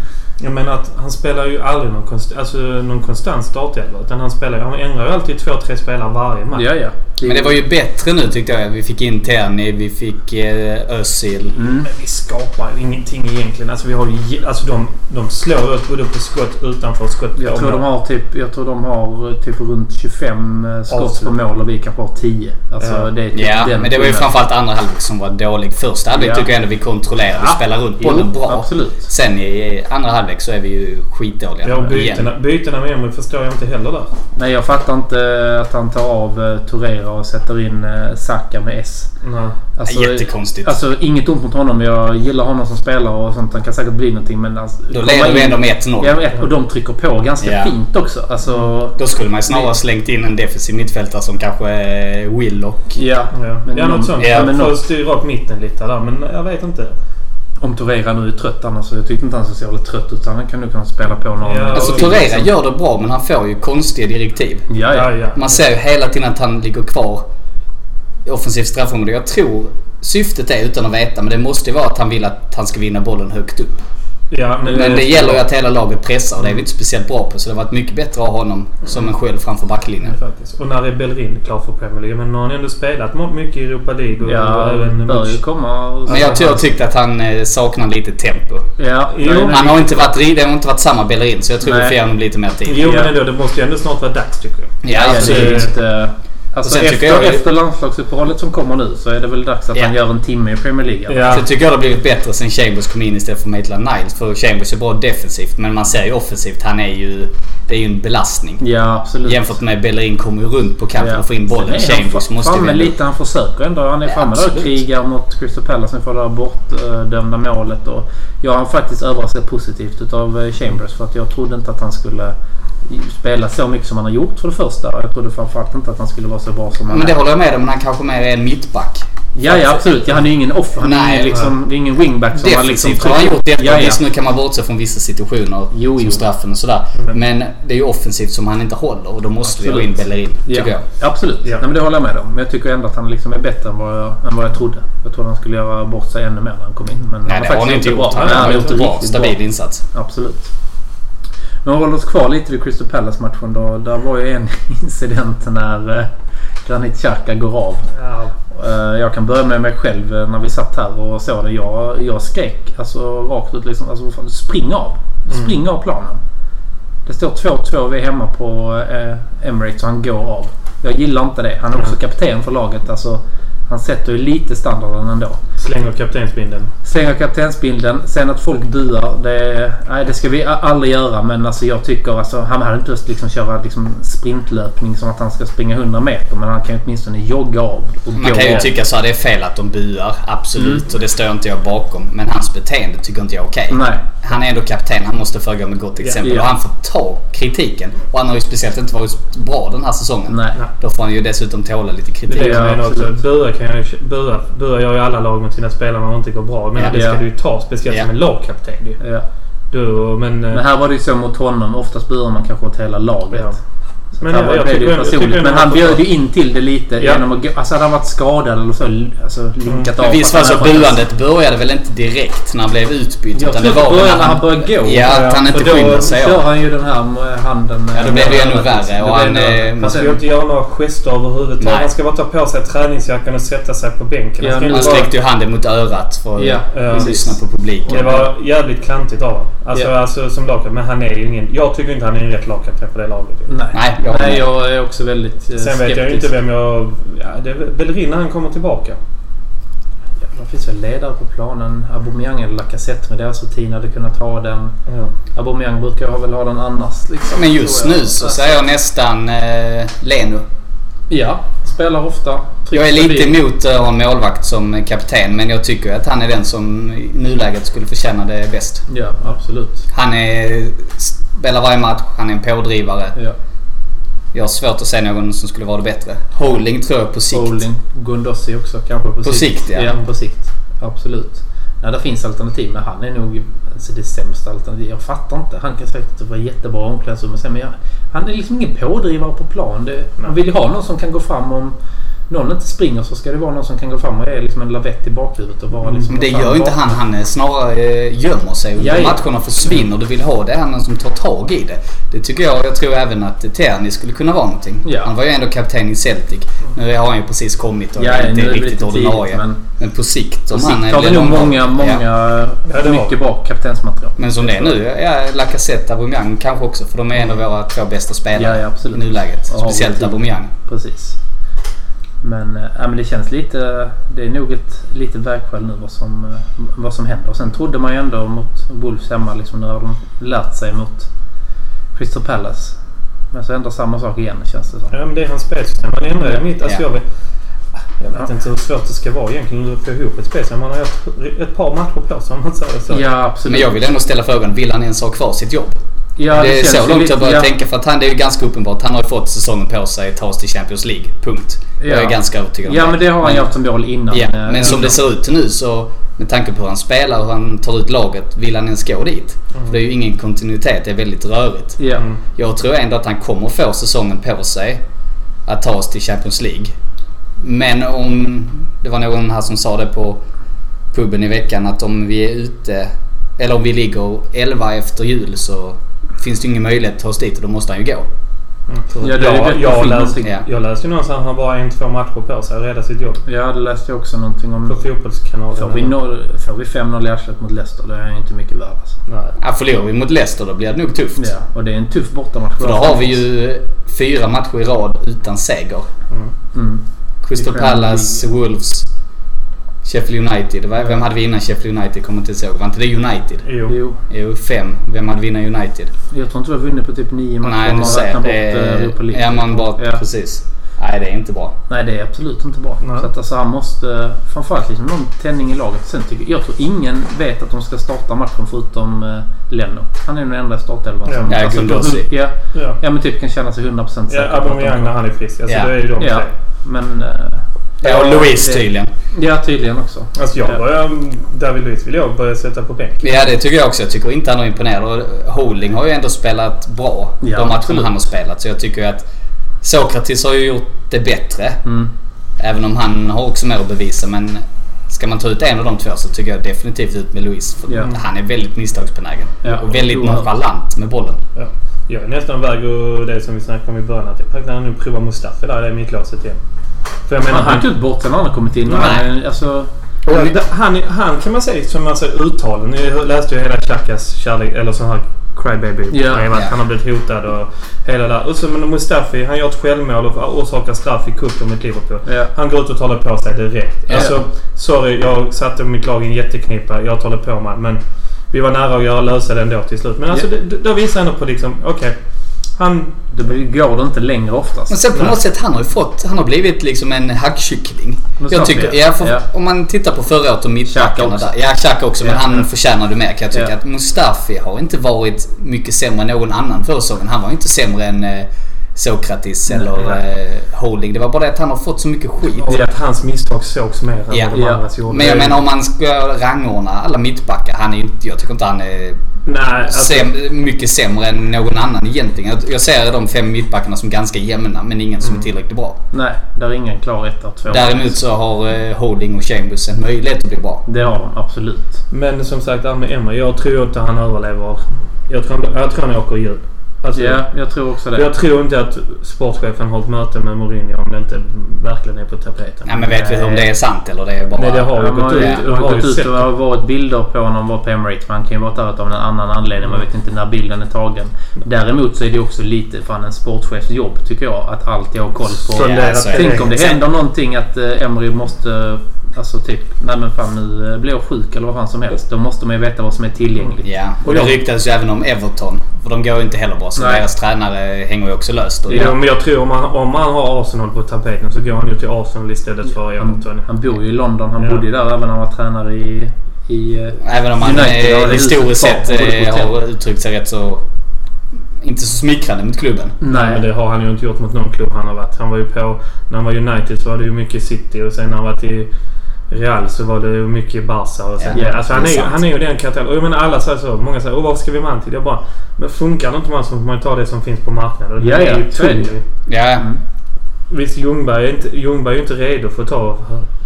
[SPEAKER 3] Jag menar att han spelar ju aldrig någon, konst, alltså någon konstant startelva. Utan han spelar Han ändrar ju alltid två, tre spelare varje match.
[SPEAKER 2] ja, ja.
[SPEAKER 4] Men det var ju bättre nu tyckte jag. Vi fick in Terni, vi fick eh, Özil.
[SPEAKER 2] Mm.
[SPEAKER 3] Men vi skapar ju ingenting egentligen. Alltså, vi har ju, ge- alltså de, de slår oss både på skott utanför och skott på
[SPEAKER 2] Jag tror, de
[SPEAKER 3] mål.
[SPEAKER 2] har typ, jag tror de har eh, typ runt 25 eh, skott på
[SPEAKER 3] Avslut.
[SPEAKER 2] mål och vi kanske har 10. Alltså,
[SPEAKER 3] Ja.
[SPEAKER 2] det är typ
[SPEAKER 4] Ja,
[SPEAKER 2] den
[SPEAKER 4] men det var ju
[SPEAKER 2] skillnaden.
[SPEAKER 4] framförallt andra halvlek som var dålig. Första halvlek
[SPEAKER 2] Ja.
[SPEAKER 4] tycker jag ändå vi kontrollerade. Vi
[SPEAKER 2] Ja.
[SPEAKER 4] spelar runt
[SPEAKER 2] Jo,
[SPEAKER 4] bollen bra.
[SPEAKER 2] Absolut.
[SPEAKER 4] Sen i andra halvlek så är vi ju skitdåliga.
[SPEAKER 3] Ja, och
[SPEAKER 4] igen.
[SPEAKER 3] bytena, bytena med Emil förstår jag inte heller där.
[SPEAKER 2] Nej, jag fattar inte att han tar av eh, Torera och sätter in eh, Saka med S.
[SPEAKER 3] Nej.
[SPEAKER 2] Alltså,
[SPEAKER 4] Jättekonstigt.
[SPEAKER 2] Alltså inget ont mot honom. Jag gillar honom som spelare och sånt. Han kan säkert bli någonting men... Alltså,
[SPEAKER 4] Då
[SPEAKER 2] komma
[SPEAKER 4] leder vi
[SPEAKER 2] in-
[SPEAKER 4] ändå med 1-0.
[SPEAKER 2] Ja, men- och de trycker på ganska
[SPEAKER 4] Ja.
[SPEAKER 2] fint också. Alltså...
[SPEAKER 4] Då skulle man ju snarare slängt in en defensiv mittfältare som kanske eh, Willock.
[SPEAKER 2] Ja.
[SPEAKER 3] Ja,
[SPEAKER 2] Men
[SPEAKER 3] ja
[SPEAKER 2] någon-
[SPEAKER 3] något sånt.
[SPEAKER 4] ja,
[SPEAKER 3] Ja,
[SPEAKER 2] men
[SPEAKER 3] Får
[SPEAKER 2] något-
[SPEAKER 3] styra upp mitten lite där, men jag vet inte.
[SPEAKER 2] Om Torera nu är trött annars. så Jag tyckte inte han såg så jävla trött ut. så Han kan nog kunna spela på någon.
[SPEAKER 3] Ja.
[SPEAKER 4] Alltså
[SPEAKER 3] och-
[SPEAKER 4] Torreira gör det bra men han får ju konstiga direktiv.
[SPEAKER 2] Ja, ja.
[SPEAKER 4] Man ser ju hela tiden att han ligger kvar i offensivt straffområde. Jag tror syftet är, utan att veta, men det måste ju vara att han vill att han ska vinna bollen högt upp.
[SPEAKER 3] Ja, men,
[SPEAKER 4] Men det gäller ju att hela laget pressar och det är vi inte speciellt bra på. Så det har varit mycket bättre att ha honom som en sköld framför backlinjen.
[SPEAKER 3] Faktiskt. Och när är Bellerin klar för Premier League? Men nu har han ändå spelat mo- mycket i Europa League och, och
[SPEAKER 2] Ja,
[SPEAKER 3] även
[SPEAKER 2] bör ju
[SPEAKER 3] match.
[SPEAKER 2] komma.
[SPEAKER 4] Men jag tror jag tyckte att han eh, saknar lite tempo.
[SPEAKER 2] Ja,
[SPEAKER 3] Jo,
[SPEAKER 2] nej, nej.
[SPEAKER 4] Han har inte varit, ri- det har inte varit samma Bellerin så jag tror vi
[SPEAKER 2] Nej.
[SPEAKER 4] får ge honom lite mer tid.
[SPEAKER 3] Jo, men
[SPEAKER 2] Ja.
[SPEAKER 3] ändå. Det måste ju ändå snart vara dags tycker jag.
[SPEAKER 4] Ja,
[SPEAKER 2] Ja, det är ju
[SPEAKER 4] absolut.
[SPEAKER 2] inte... Alltså
[SPEAKER 4] Och sen
[SPEAKER 2] efter,
[SPEAKER 4] tycker jag-
[SPEAKER 2] efter landslagsuppehållet som kommer nu så är det väl dags att
[SPEAKER 4] Ja.
[SPEAKER 2] han gör en timme i Premier League. eller?
[SPEAKER 3] Ja.
[SPEAKER 4] Så tycker jag det har blivit bättre sen Chambers kom in istället för Maitland Niles. För Chambers är bra defensivt men man ser ju offensivt, han är ju... Det är ju en belastning.
[SPEAKER 2] Ja, absolut.
[SPEAKER 4] Jämfört med Bellerin kommer ju runt på kanten och får in bollen.
[SPEAKER 2] Sen är han
[SPEAKER 4] Chambers
[SPEAKER 2] fra-
[SPEAKER 4] måste ju...
[SPEAKER 2] framme
[SPEAKER 4] ändå-
[SPEAKER 2] lite. Han försöker ändå. Han är
[SPEAKER 4] Ja,
[SPEAKER 2] framme där och
[SPEAKER 4] absolut.
[SPEAKER 2] krigar mot Crystal Palace. Sen får det här bortdömda målet. Och jag har faktiskt överraskat positivt utav eh, Chambers. För att jag trodde inte att han skulle eh, spela så mycket som han har gjort för det första. Och Jag trodde framförallt inte att han skulle vara så bra som han
[SPEAKER 4] Men det
[SPEAKER 2] är.
[SPEAKER 4] håller jag med om, men han kanske mer är en mittback.
[SPEAKER 2] Ja, ja absolut. Ja, han är ju ingen off. Han är
[SPEAKER 4] Nej,
[SPEAKER 2] ju liksom, det är ingen wingback som han liksom...
[SPEAKER 4] Defensivt har han gjort det.
[SPEAKER 2] Ja, ja.
[SPEAKER 4] Visst, nu kan man bortse från vissa situationer.
[SPEAKER 2] Jo,
[SPEAKER 4] som
[SPEAKER 2] jo.
[SPEAKER 4] straffen och sådär. Men det är ju offensivt som han inte håller och då måste vi ha in
[SPEAKER 2] Absolut.
[SPEAKER 4] Bellerin, tycker jag.
[SPEAKER 2] Absolut,
[SPEAKER 3] Ja.
[SPEAKER 2] Nej, men det håller jag med om. Men jag tycker ändå att han liksom är bättre än vad, jag, än vad jag trodde. Jag trodde han skulle göra bort sig ännu mer när han kom in. Men
[SPEAKER 4] Nej, det har han
[SPEAKER 2] faktiskt
[SPEAKER 4] inte
[SPEAKER 2] bra.
[SPEAKER 4] gjort. Han
[SPEAKER 2] Nej,
[SPEAKER 4] har gjort en bra,
[SPEAKER 2] riktigt
[SPEAKER 4] stabil insats.
[SPEAKER 2] Absolut. Men om vi håller oss kvar lite vid Crystal Palace-matchen. Då, där var ju en incident när eh, Granit Xhaka går av.
[SPEAKER 3] Ja.
[SPEAKER 2] Eh, jag kan börja med mig själv eh, när vi satt här och såg det. Jag, jag skrek alltså, rakt ut. Liksom, alltså, vad fan, spring av!
[SPEAKER 4] Mm.
[SPEAKER 2] Spring av planen! Det står 2-2. Vi är hemma på eh, Emirates och han går av. Jag gillar inte det. Han är
[SPEAKER 4] Mm.
[SPEAKER 2] också kapten för laget. Alltså, han sätter ju lite standarden ändå.
[SPEAKER 3] Slänger kaptensbindeln.
[SPEAKER 2] Slänger kaptensbilden. Sen att folk buar. Det, nej, det ska vi a- aldrig göra. Men alltså, jag tycker alltså, han hade inte behövt liksom köra liksom sprintlöpning som att han ska springa 100 meter. Men han kan ju åtminstone jogga av och
[SPEAKER 4] Man
[SPEAKER 2] gå
[SPEAKER 4] kan ju
[SPEAKER 2] av.
[SPEAKER 4] tycka så här, det är fel att de buar. Absolut,
[SPEAKER 2] Mm.
[SPEAKER 4] och det står inte jag bakom. Men hans beteende tycker inte jag är okej.
[SPEAKER 2] Nej.
[SPEAKER 4] Han är ändå kapten, han måste föregå med gott exempel.
[SPEAKER 2] Ja.
[SPEAKER 4] Och han får ta kritiken. Och han har ju speciellt inte varit bra den här säsongen.
[SPEAKER 2] Nej.
[SPEAKER 4] Då får han ju dessutom tåla lite kritik.
[SPEAKER 3] Det är det
[SPEAKER 2] Ja,
[SPEAKER 3] jag menar också.
[SPEAKER 2] absolut.
[SPEAKER 3] Bua, kan jag, bua, bua gör ju alla lag mot sina spelare när det inte går bra. Men
[SPEAKER 4] Ja.
[SPEAKER 3] det ska
[SPEAKER 2] Ja.
[SPEAKER 3] du ju ta. Speciellt
[SPEAKER 4] Ja.
[SPEAKER 3] som en lagkapten. ju.
[SPEAKER 2] Ja.
[SPEAKER 3] Du, men... eh,
[SPEAKER 2] Men här var det ju så mot honom. Oftast burar man kanske åt hela laget.
[SPEAKER 3] Ja.
[SPEAKER 2] Så
[SPEAKER 3] Men
[SPEAKER 2] men,
[SPEAKER 3] ja, jag
[SPEAKER 2] det blev
[SPEAKER 3] tycker
[SPEAKER 2] ju
[SPEAKER 3] ändå- jag
[SPEAKER 2] personligt.
[SPEAKER 3] tycker ändå
[SPEAKER 2] Men han
[SPEAKER 3] att-
[SPEAKER 2] bjöd ju in till det lite
[SPEAKER 3] Ja. Mm.
[SPEAKER 2] genom att... gå- Alltså hade han varit skadad eller så... Alltså linkat av...
[SPEAKER 4] Men visst
[SPEAKER 2] att
[SPEAKER 4] var
[SPEAKER 2] han
[SPEAKER 4] så
[SPEAKER 2] hade fått-
[SPEAKER 4] buandet började väl inte direkt när han blev utbytt?
[SPEAKER 2] Jag
[SPEAKER 4] utan
[SPEAKER 2] tror
[SPEAKER 4] det
[SPEAKER 2] att
[SPEAKER 4] var väl
[SPEAKER 2] början när han började gå.
[SPEAKER 4] Ja, att han
[SPEAKER 2] för
[SPEAKER 4] inte
[SPEAKER 2] då
[SPEAKER 4] skyndade sig
[SPEAKER 2] kör
[SPEAKER 4] av.
[SPEAKER 2] han ju den här med handen.
[SPEAKER 4] Ja, då blev det ännu
[SPEAKER 2] Det
[SPEAKER 4] värre. Och
[SPEAKER 2] blev
[SPEAKER 4] han,
[SPEAKER 2] det.
[SPEAKER 4] eh,
[SPEAKER 3] Han
[SPEAKER 2] Fast
[SPEAKER 3] ska ju
[SPEAKER 2] jag-
[SPEAKER 3] inte göra några gester överhuvudtaget.
[SPEAKER 4] Nej.
[SPEAKER 3] Han ska bara ta på sig träningsjackan och sätta sig på bänken.
[SPEAKER 2] Ja,
[SPEAKER 3] ska
[SPEAKER 2] men-
[SPEAKER 3] inte
[SPEAKER 4] Han
[SPEAKER 3] bara-
[SPEAKER 4] sträckte ju handen mot örat för
[SPEAKER 2] Ja,
[SPEAKER 4] att
[SPEAKER 3] precis.
[SPEAKER 4] lyssna på publiken.
[SPEAKER 3] Det var jävligt klantigt av honom. Alltså,
[SPEAKER 2] Ja.
[SPEAKER 3] alltså som lagkapten. Men han är ju ingen... Jag tycker inte han är en rätt lagkapten för det laget. ju.
[SPEAKER 2] Nej.
[SPEAKER 4] Nej, jag håller
[SPEAKER 2] Nej,
[SPEAKER 4] med.
[SPEAKER 2] jag är också väldigt eh, skeptisk.
[SPEAKER 3] Sen vet jag ju inte vem jag... Ja, det är väl Bellerin när han kommer tillbaka.
[SPEAKER 2] Ja, det finns väl ledare på planen. Aubameyang eller Lacazette med deras rutin hade kunnat ha den.
[SPEAKER 3] Ja.
[SPEAKER 2] Aubameyang brukar jag väl ha den annars. Liksom,
[SPEAKER 4] Men just
[SPEAKER 2] tror jag.
[SPEAKER 4] nu så säger jag nästan eh, Leno.
[SPEAKER 2] Ja, spelar ofta. trycker
[SPEAKER 4] Jag är lite
[SPEAKER 2] förbi.
[SPEAKER 4] emot eh, att ha en målvakt som kapten men jag tycker att han är den som i nuläget skulle förtjäna det bäst.
[SPEAKER 2] Ja, absolut.
[SPEAKER 4] Han är, spelar varje match, han är en pådrivare.
[SPEAKER 2] Ja.
[SPEAKER 4] Jag har svårt att se någon som skulle vara det bättre. Holding tror jag på sikt.
[SPEAKER 2] Holding. Gundossi också kanske på,
[SPEAKER 4] På sikt, ja.
[SPEAKER 2] på sikt. Absolut. Nej, det finns alternativ men han är nog alltså, det sämsta alternativet. Jag fattar inte. Han kan säkert vara jättebra i omklädningsrummet sen, men jag, han är liksom ingen pådrivare på plan. Det, man vill ju ha någon som kan gå fram om någon inte springer så ska det vara någon som kan gå fram och är liksom en lavett i bakhuvudet och vara liksom...
[SPEAKER 4] Men Mm. det
[SPEAKER 2] gå fram
[SPEAKER 4] gör ju inte
[SPEAKER 2] bak-
[SPEAKER 4] han. Han eh, snarare eh, gömmer sig under
[SPEAKER 2] Ja, ja.
[SPEAKER 4] matcherna försvinner. Du vill ha det här någon som tar tag i det. Det tycker jag. Jag tror även att eh, Terni skulle kunna vara någonting.
[SPEAKER 2] Ja.
[SPEAKER 4] Han var ju ändå kapten i Celtic. Nu har han ju precis kommit och
[SPEAKER 2] Ja,
[SPEAKER 4] är
[SPEAKER 2] nu
[SPEAKER 4] inte
[SPEAKER 2] är det
[SPEAKER 4] riktigt
[SPEAKER 2] lite tidigt,
[SPEAKER 4] ordinarie.
[SPEAKER 2] men-
[SPEAKER 4] men... på sikt om
[SPEAKER 2] På
[SPEAKER 4] han
[SPEAKER 2] sikt har
[SPEAKER 4] blir
[SPEAKER 2] vi nog
[SPEAKER 4] långvarig.
[SPEAKER 2] många, många...
[SPEAKER 4] Ja.
[SPEAKER 3] Ja, det har-
[SPEAKER 2] mycket bra kaptensmaterial.
[SPEAKER 4] Men som det är nu, ja, Lacazette, Aubameyang kanske också. För de är en av våra två bästa spelare
[SPEAKER 2] Ja, ja, absolut.
[SPEAKER 4] i nuläget.
[SPEAKER 2] Ja,
[SPEAKER 4] Speciellt
[SPEAKER 2] verkligen.
[SPEAKER 4] Aubameyang.
[SPEAKER 2] Precis. Men, eh, ja, men det känns lite... Det är nog ett litet vägskäl nu vad som, eh, vad som händer. Och sen trodde man ju ändå mot Wolves hemma. Liksom, nu har de lärt sig mot Crystal Palace. Men så händer samma sak igen känns det som.
[SPEAKER 3] Ja, men det är hans spelsystem. Han ändrar ju mitt. Alltså,
[SPEAKER 4] Ja.
[SPEAKER 3] jag vet, jag vet inte hur svårt det ska vara egentligen att få ihop ett spelsystem. Han har haft ett par matcher på sig om man säger så.
[SPEAKER 2] Ja, absolut.
[SPEAKER 4] Men jag vill ändå ställa frågan, vill han ens ha kvar sitt jobb?
[SPEAKER 2] ja,
[SPEAKER 4] det är
[SPEAKER 2] känns
[SPEAKER 4] så
[SPEAKER 2] ju
[SPEAKER 4] långt
[SPEAKER 2] lite-
[SPEAKER 4] jag börjar
[SPEAKER 2] ja,
[SPEAKER 4] tänka för att han, det är ju ganska uppenbart. Han har ju fått säsongen på sig att ta oss till Champions League. Punkt. Jag
[SPEAKER 2] Ja.
[SPEAKER 4] är ganska övertygad om
[SPEAKER 2] Ja, men det har han ju haft som mål innan.
[SPEAKER 4] Ja,
[SPEAKER 2] eh,
[SPEAKER 4] men som det
[SPEAKER 2] innan.
[SPEAKER 4] ser ut nu så med tanke på hur han spelar och hur han tar ut laget, vill han ens gå dit?
[SPEAKER 2] Mm.
[SPEAKER 4] För det är ju ingen kontinuitet, det är väldigt rörigt.
[SPEAKER 2] Ja.
[SPEAKER 3] Mm.
[SPEAKER 4] Jag tror ändå att han kommer få säsongen på sig att ta oss till Champions League. Men om... Det var någon här som sa det på puben i veckan att om vi är ute... Eller om vi ligger 11 efter jul så finns det ingen möjlighet att ta oss dit och då måste han ju gå.
[SPEAKER 2] Ja, det är ju bättre
[SPEAKER 3] jag,
[SPEAKER 2] att få
[SPEAKER 3] jag,
[SPEAKER 2] in
[SPEAKER 3] läste,
[SPEAKER 2] någonting.
[SPEAKER 4] Ja.
[SPEAKER 3] Mm. jag läste ju någonstans att han bara har en, två matcher på sig att rädda sitt jobb.
[SPEAKER 2] ja, det läste jag också någonting om.
[SPEAKER 3] På fotbollskanalen.
[SPEAKER 2] Får vi, noll, får vi 5-0 i arslet mot Leicester, då är jag inte mycket värd. Alltså.
[SPEAKER 3] Nej.
[SPEAKER 4] Ja, förlorar vi mot Leicester då blir det nog tufft.
[SPEAKER 2] Ja, och det är en tuff bortamatch.
[SPEAKER 4] För då har vi ju fyra matcher i rad utan seger.
[SPEAKER 3] Mm.
[SPEAKER 2] Mm.
[SPEAKER 4] Crystal
[SPEAKER 2] I Premier
[SPEAKER 4] Palace, Wolves, Sheffield United. Det var- Vem hade vi innan Sheffield United? Kommer inte ihåg. Var inte det United?
[SPEAKER 3] Jo.
[SPEAKER 2] Jo.
[SPEAKER 4] Jo, fem. Vem hade vi innan United?
[SPEAKER 2] Jag tror inte du har vunnit på typ nio matcher
[SPEAKER 4] Nej,
[SPEAKER 2] om
[SPEAKER 4] du
[SPEAKER 2] man
[SPEAKER 4] ser.
[SPEAKER 2] räknar bort
[SPEAKER 4] Det
[SPEAKER 2] eh, Europa
[SPEAKER 4] är,
[SPEAKER 2] League.
[SPEAKER 4] ja, man bara...
[SPEAKER 2] Ja.
[SPEAKER 4] Precis. Nej, det är inte bra.
[SPEAKER 2] Nej, det är absolut inte bra.
[SPEAKER 3] Nej.
[SPEAKER 2] Så att alltså, han måste... Framförallt liksom någon tändning i laget. Sen tycker, jag tror ingen vet att de ska starta matchen förutom eh, Leno. Han är den enda i startelvan
[SPEAKER 3] Ja.
[SPEAKER 2] som... alltså,
[SPEAKER 4] Ja, Guendouzi.
[SPEAKER 2] ja,
[SPEAKER 3] Ja.
[SPEAKER 2] ja, men typ kan känna sig 100% säker.
[SPEAKER 3] Ja,
[SPEAKER 2] på att de-
[SPEAKER 3] Aubameyang när han är frisk. Alltså,
[SPEAKER 4] Ja.
[SPEAKER 3] Det är ju de
[SPEAKER 2] Ja,
[SPEAKER 3] tre.
[SPEAKER 2] men... eh,
[SPEAKER 4] Ja, och Louise
[SPEAKER 2] det-
[SPEAKER 4] tydligen.
[SPEAKER 2] Ja, tydligen också.
[SPEAKER 3] Alltså jag
[SPEAKER 2] Ja.
[SPEAKER 3] börjar... David Luiz vill jag börja sätta på bänk.
[SPEAKER 4] Ja, det tycker jag också. Jag tycker inte han har imponerat. Och Holding har ju ändå spelat bra
[SPEAKER 2] Ja,
[SPEAKER 4] de matcherna
[SPEAKER 2] absolut.
[SPEAKER 4] han har spelat. Så jag tycker ju att Sokratis har ju gjort det bättre.
[SPEAKER 2] Mm.
[SPEAKER 4] Även om han har också mer att bevisa. Men ska man ta ut en av de två så tycker jag definitivt ut med Louise. För
[SPEAKER 2] Ja.
[SPEAKER 4] han är väldigt misstagsbenägen.
[SPEAKER 2] Ja,
[SPEAKER 4] och väldigt
[SPEAKER 2] oerhört.
[SPEAKER 4] nonchalant med bollen.
[SPEAKER 3] Ja. Jag är nästan väg och det som vi snackade om i början. Att jag räknar nu prova Mustafi där i mittlåset igen. För jag menar,
[SPEAKER 2] Men han har
[SPEAKER 3] han,
[SPEAKER 2] inte gjort bort sen han har kommit in.
[SPEAKER 4] Nej.
[SPEAKER 2] Han, alltså,
[SPEAKER 3] han, han, han kan man säga som alltså uttalen. Nu läste jag hela Chakas kärlek, eller sån här crybaby
[SPEAKER 2] Ja.
[SPEAKER 3] brev att
[SPEAKER 4] Ja.
[SPEAKER 3] han har blivit hotad och hela där. Och så men Mustafi, han gör ett självmål och orsakar straff i cupen mot Liverpool.
[SPEAKER 2] Ja.
[SPEAKER 3] Han går ut och talar på sig direkt.
[SPEAKER 2] Ja.
[SPEAKER 3] Alltså, sorry, jag satte mitt lag i en jätteknipa. Jag talar på mig. Men vi var nära att göra, lösa det ändå till slut. Men alltså,
[SPEAKER 2] Ja.
[SPEAKER 3] det, då visar han ändå på liksom, okej. han
[SPEAKER 2] då går det inte längre oftast.
[SPEAKER 4] Men sen på
[SPEAKER 3] Nej.
[SPEAKER 4] något sätt, han har ju fått... Han har blivit liksom en hackkyckling.
[SPEAKER 2] Mustafi,
[SPEAKER 4] Jag tycker,
[SPEAKER 2] ja.
[SPEAKER 4] ja, för,
[SPEAKER 2] Ja.
[SPEAKER 4] Om man tittar på förra året och mittbackarna
[SPEAKER 2] också.
[SPEAKER 4] där. Ja, Xhaka också. Men
[SPEAKER 2] Ja.
[SPEAKER 4] han förtjänade mer kan jag tycka.
[SPEAKER 2] Ja.
[SPEAKER 4] Att Mustafi har inte varit mycket sämre än någon annan förra säsongen. Han var inte sämre än eh, Sokratis
[SPEAKER 2] Nej,
[SPEAKER 4] eller
[SPEAKER 2] nej.
[SPEAKER 4] eh, Holding. Det var bara det att han har fått så mycket skit.
[SPEAKER 3] Och att hans misstag sågs mer än
[SPEAKER 4] Ja.
[SPEAKER 3] vad de
[SPEAKER 2] Ja.
[SPEAKER 3] andras gjorde.
[SPEAKER 4] Men jag menar om man ska rangordna alla mittbackar. Han är ju inte, jag tycker inte han är
[SPEAKER 3] Nej, alltså,
[SPEAKER 4] säm, mycket sämre än någon annan egentligen. Jag, jag ser de fem mittbackarna som ganska jämna men ingen
[SPEAKER 2] Mm.
[SPEAKER 4] som är tillräckligt bra.
[SPEAKER 2] Nej, där är ingen klar etta och tvåa.
[SPEAKER 4] Däremot så har eh, Holding och Chambers en möjlighet att bli bra.
[SPEAKER 2] Det har de absolut.
[SPEAKER 3] men som sagt, det här med Emma. Jag tror inte han överlever. Jag tror, han- jag tror han åker i jul. Alltså,
[SPEAKER 2] Ja, jag tror också det.
[SPEAKER 3] Jag tror inte att sportchefen har ett möte med Mourinho om det inte verkligen är på tapeten.
[SPEAKER 4] Nej men vet vi om det är sant eller det är bara...
[SPEAKER 3] Nej, det har
[SPEAKER 2] Ja,
[SPEAKER 3] ju
[SPEAKER 2] man
[SPEAKER 3] gått
[SPEAKER 2] har ju-
[SPEAKER 3] ut.
[SPEAKER 2] man
[SPEAKER 3] Jag
[SPEAKER 2] har
[SPEAKER 3] har ju
[SPEAKER 2] gått ut
[SPEAKER 3] sett
[SPEAKER 2] och det har varit bilder på honom var på Emirates. Man kan ju vara där av en annan anledning. Man vet inte när bilden är tagen. Däremot så är det också lite fan en sportchefs jobb tycker jag. Att alltid ha koll på...
[SPEAKER 3] Så
[SPEAKER 4] Ja, alltså,
[SPEAKER 3] det-
[SPEAKER 4] så är
[SPEAKER 2] Tänk om det
[SPEAKER 4] Sen-
[SPEAKER 2] händer någonting att eh, Emery måste... eh, Alltså typ, nej men fan nu eh, blir jag sjuk eller vad fan som helst. Då måste man ju veta vad som är tillgängligt.
[SPEAKER 4] Ja, och det
[SPEAKER 3] Och de-
[SPEAKER 4] ryktades ju även om Everton. För de går ju inte heller bra, så
[SPEAKER 2] Nej.
[SPEAKER 4] deras tränare hänger ju också löst. Och
[SPEAKER 3] Ja, men jag tror om han, om han har Arsenal på tapeten så går han ju till Arsenal istället för
[SPEAKER 4] Mm.
[SPEAKER 3] Everton.
[SPEAKER 2] Han, han bor ju i London. Han
[SPEAKER 3] Ja.
[SPEAKER 2] bodde ju där även när han var tränare i... i eh,
[SPEAKER 4] Även om man
[SPEAKER 2] United har
[SPEAKER 4] eh,
[SPEAKER 2] det
[SPEAKER 4] historiskt
[SPEAKER 2] huset
[SPEAKER 4] sett
[SPEAKER 2] kvar, både
[SPEAKER 4] eh,
[SPEAKER 2] på
[SPEAKER 4] har uttryckt sig rätt så... Inte så smickrande mot klubben.
[SPEAKER 3] Nej. Men
[SPEAKER 2] nej.
[SPEAKER 3] det har han ju inte gjort mot någon klubb han har varit. Han var ju på... När han var i United så var det ju mycket City och sen när han varit i Real så var det ju mycket Barca. Och sen,
[SPEAKER 4] Ja,
[SPEAKER 3] ja, alltså han,
[SPEAKER 4] det är
[SPEAKER 3] är, ju-
[SPEAKER 4] sant.
[SPEAKER 3] han är ju den karaktären. Och jag menar alla säger så. Många säger åh varför ska vi med han till? Jag bara... Men funkar det inte med han så får man ju ta det som finns på marknaden. Och det
[SPEAKER 2] Ja, ja,
[SPEAKER 3] är ju
[SPEAKER 2] så är det ju.
[SPEAKER 3] tungt.
[SPEAKER 4] Ja,
[SPEAKER 3] Mm. Visst Ljungberg är, inte, Ljungberg är ju inte redo för att ta...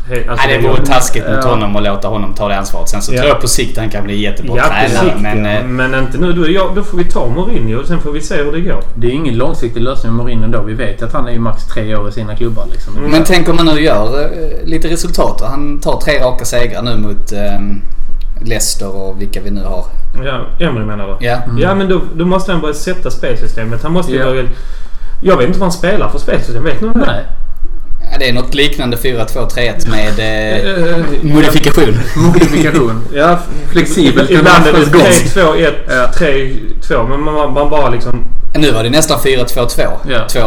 [SPEAKER 3] he- Alltså,
[SPEAKER 4] Nej, det vore taskigt mot
[SPEAKER 2] Ja.
[SPEAKER 4] honom att låta honom ta det ansvaret. Sen så
[SPEAKER 3] Ja.
[SPEAKER 4] tror jag på sikt han kan bli jättebra
[SPEAKER 3] Ja, på
[SPEAKER 4] tränare.
[SPEAKER 3] sikt,
[SPEAKER 4] men
[SPEAKER 3] ja.
[SPEAKER 4] eh,
[SPEAKER 3] men inte nu. Då, ja, då får vi ta Mourinho och sen får vi se hur det går.
[SPEAKER 2] Det är ju ingen långsiktig lösning med Mourinho då. Vi vet ju att han är ju max tre år i sina klubbar liksom.
[SPEAKER 3] Mm.
[SPEAKER 4] Men tänk om han nu gör eh, lite resultat. och Han tar tre raka segrar nu mot eh, Leicester och vilka vi nu har.
[SPEAKER 3] Ja, Emery menar du?
[SPEAKER 4] Ja.
[SPEAKER 3] Ja, men då, då måste han börja sätta spelsystemet. Han måste ju
[SPEAKER 2] Mm. Ja.
[SPEAKER 3] börja... Jag vet inte vad han spelar för spelsystem. Vet någon det?
[SPEAKER 2] Nej.
[SPEAKER 4] Ja, Det är något liknande 4-2-3-1 med eh,
[SPEAKER 3] Eh,
[SPEAKER 4] modifikation.
[SPEAKER 2] Modifikation.
[SPEAKER 3] Ja,
[SPEAKER 2] Flexibelt.
[SPEAKER 3] Ibland är det
[SPEAKER 2] Kunde man-
[SPEAKER 3] 3-2-1,
[SPEAKER 2] Ja.
[SPEAKER 3] 3-2. Men man, man bara liksom...
[SPEAKER 4] Nu var det nästan 4-2-2.
[SPEAKER 2] Ja.
[SPEAKER 4] 2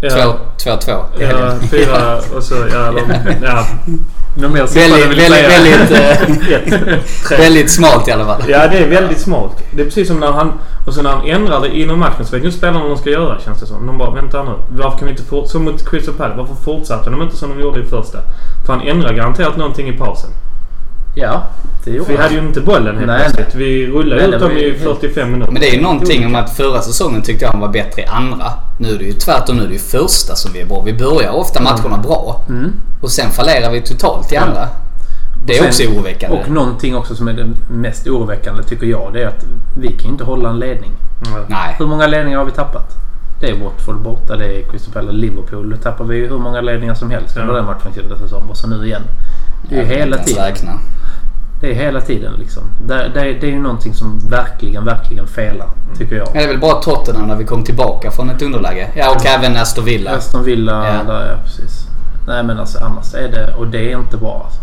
[SPEAKER 3] Ja,
[SPEAKER 4] 2-2-2.
[SPEAKER 3] ja, fyra och så... Ja, eller, ja.
[SPEAKER 2] Någon mer siffra du
[SPEAKER 4] Väldigt,
[SPEAKER 2] vill
[SPEAKER 4] väldigt,
[SPEAKER 2] säga?
[SPEAKER 4] väldigt, eh,
[SPEAKER 3] Ett, tre.
[SPEAKER 4] väldigt smalt i alla fall.
[SPEAKER 3] Ja, det är väldigt smart. Det är precis som när han... Och sen när han ändrar det inom matchen så vet nu spelarna vad de ska göra känns det som. De bara vänta nu. Varför kan vi inte fortsätta? Som mot Crystal Palace. Varför fortsatte de inte som de gjorde i första? För han ändrar garanterat någonting i pausen.
[SPEAKER 2] Ja, det gjorde
[SPEAKER 3] Vi hade ju inte bollen helt
[SPEAKER 2] Nej,
[SPEAKER 3] plötsligt. Vi rullade
[SPEAKER 2] Nej,
[SPEAKER 3] ut
[SPEAKER 2] det
[SPEAKER 3] dem
[SPEAKER 2] var ju
[SPEAKER 3] i
[SPEAKER 2] helt-
[SPEAKER 3] 45 minuter.
[SPEAKER 4] Men det är ju någonting om att förra säsongen tyckte jag han var bättre i andra. Nu är det ju tvärtom. Nu är det ju första som vi är bra. Vi börjar ofta matcherna bra.
[SPEAKER 2] Mm.
[SPEAKER 4] Och sen fallerar vi totalt i andra. Det är
[SPEAKER 2] Och
[SPEAKER 4] också
[SPEAKER 2] sen-
[SPEAKER 4] oroväckande.
[SPEAKER 2] Och någonting också som är det mest oroväckande tycker jag. Det är att vi kan ju inte hålla en ledning. Mm.
[SPEAKER 3] Ja.
[SPEAKER 4] Nej.
[SPEAKER 2] Hur många ledningar har vi tappat? Det är Watford borta, det är Crystal Palace, Liverpool. Då tappar vi ju hur många ledningar som helst under
[SPEAKER 3] Ja.
[SPEAKER 2] den matchen till säsong. Och så nu igen. Det är ju
[SPEAKER 4] Jag kan
[SPEAKER 2] hela
[SPEAKER 4] inte ens
[SPEAKER 2] tiden.
[SPEAKER 4] räkna.
[SPEAKER 2] Det är hela tiden liksom. Det, det, det är ju någonting som verkligen, verkligen felar. Tycker jag.
[SPEAKER 4] Men det är väl bara Tottenham när vi kom tillbaka från ett underläge. Ja, och även Aston Villa.
[SPEAKER 2] Aston Villa,
[SPEAKER 4] Ja.
[SPEAKER 2] där ja precis. Nej men alltså annars är det... Och det är inte bra alltså.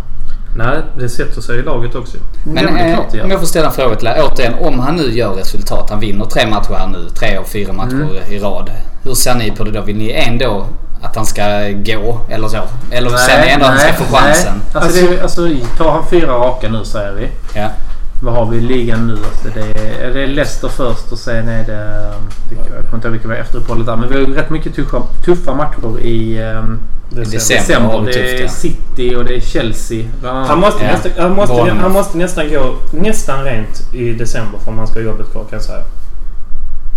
[SPEAKER 3] Nej, det sätter sig i laget också.
[SPEAKER 4] Men
[SPEAKER 2] Ja, men det är
[SPEAKER 4] eh,
[SPEAKER 2] klart det gör.
[SPEAKER 4] om jag får ställa en fråga till dig. Återigen, om han nu gör resultat. Han vinner tre matcher här nu. Tre av fyra matcher
[SPEAKER 2] Mm.
[SPEAKER 4] i rad. Hur ser ni på det då? Vill ni ändå att han ska gå eller så? Eller ser ni ändå att han ska få chansen?
[SPEAKER 2] Nej. Alltså, det, är- alltså, tar han fyra raka nu säger vi.
[SPEAKER 4] Ja.
[SPEAKER 2] Vad har vi i ligan nu? Alltså, det, är, det är Leicester först och sen är det... vilka- Jag kommer inte ihåg vilka vi har efter uppehållet där. Men vi har ju rätt mycket tuffa, tuffa matcher i ehm,
[SPEAKER 4] December
[SPEAKER 2] december.
[SPEAKER 4] har vi
[SPEAKER 2] Det
[SPEAKER 4] tufft,
[SPEAKER 2] är
[SPEAKER 4] ja.
[SPEAKER 2] City och det är Chelsea. bland annat.
[SPEAKER 3] Han måste,
[SPEAKER 4] Ja.
[SPEAKER 3] nästan, han, måste,
[SPEAKER 4] Bournemouth.
[SPEAKER 3] han måste nästan gå nästan rent i december för om han ska ha jobbet kvar kan jag säga.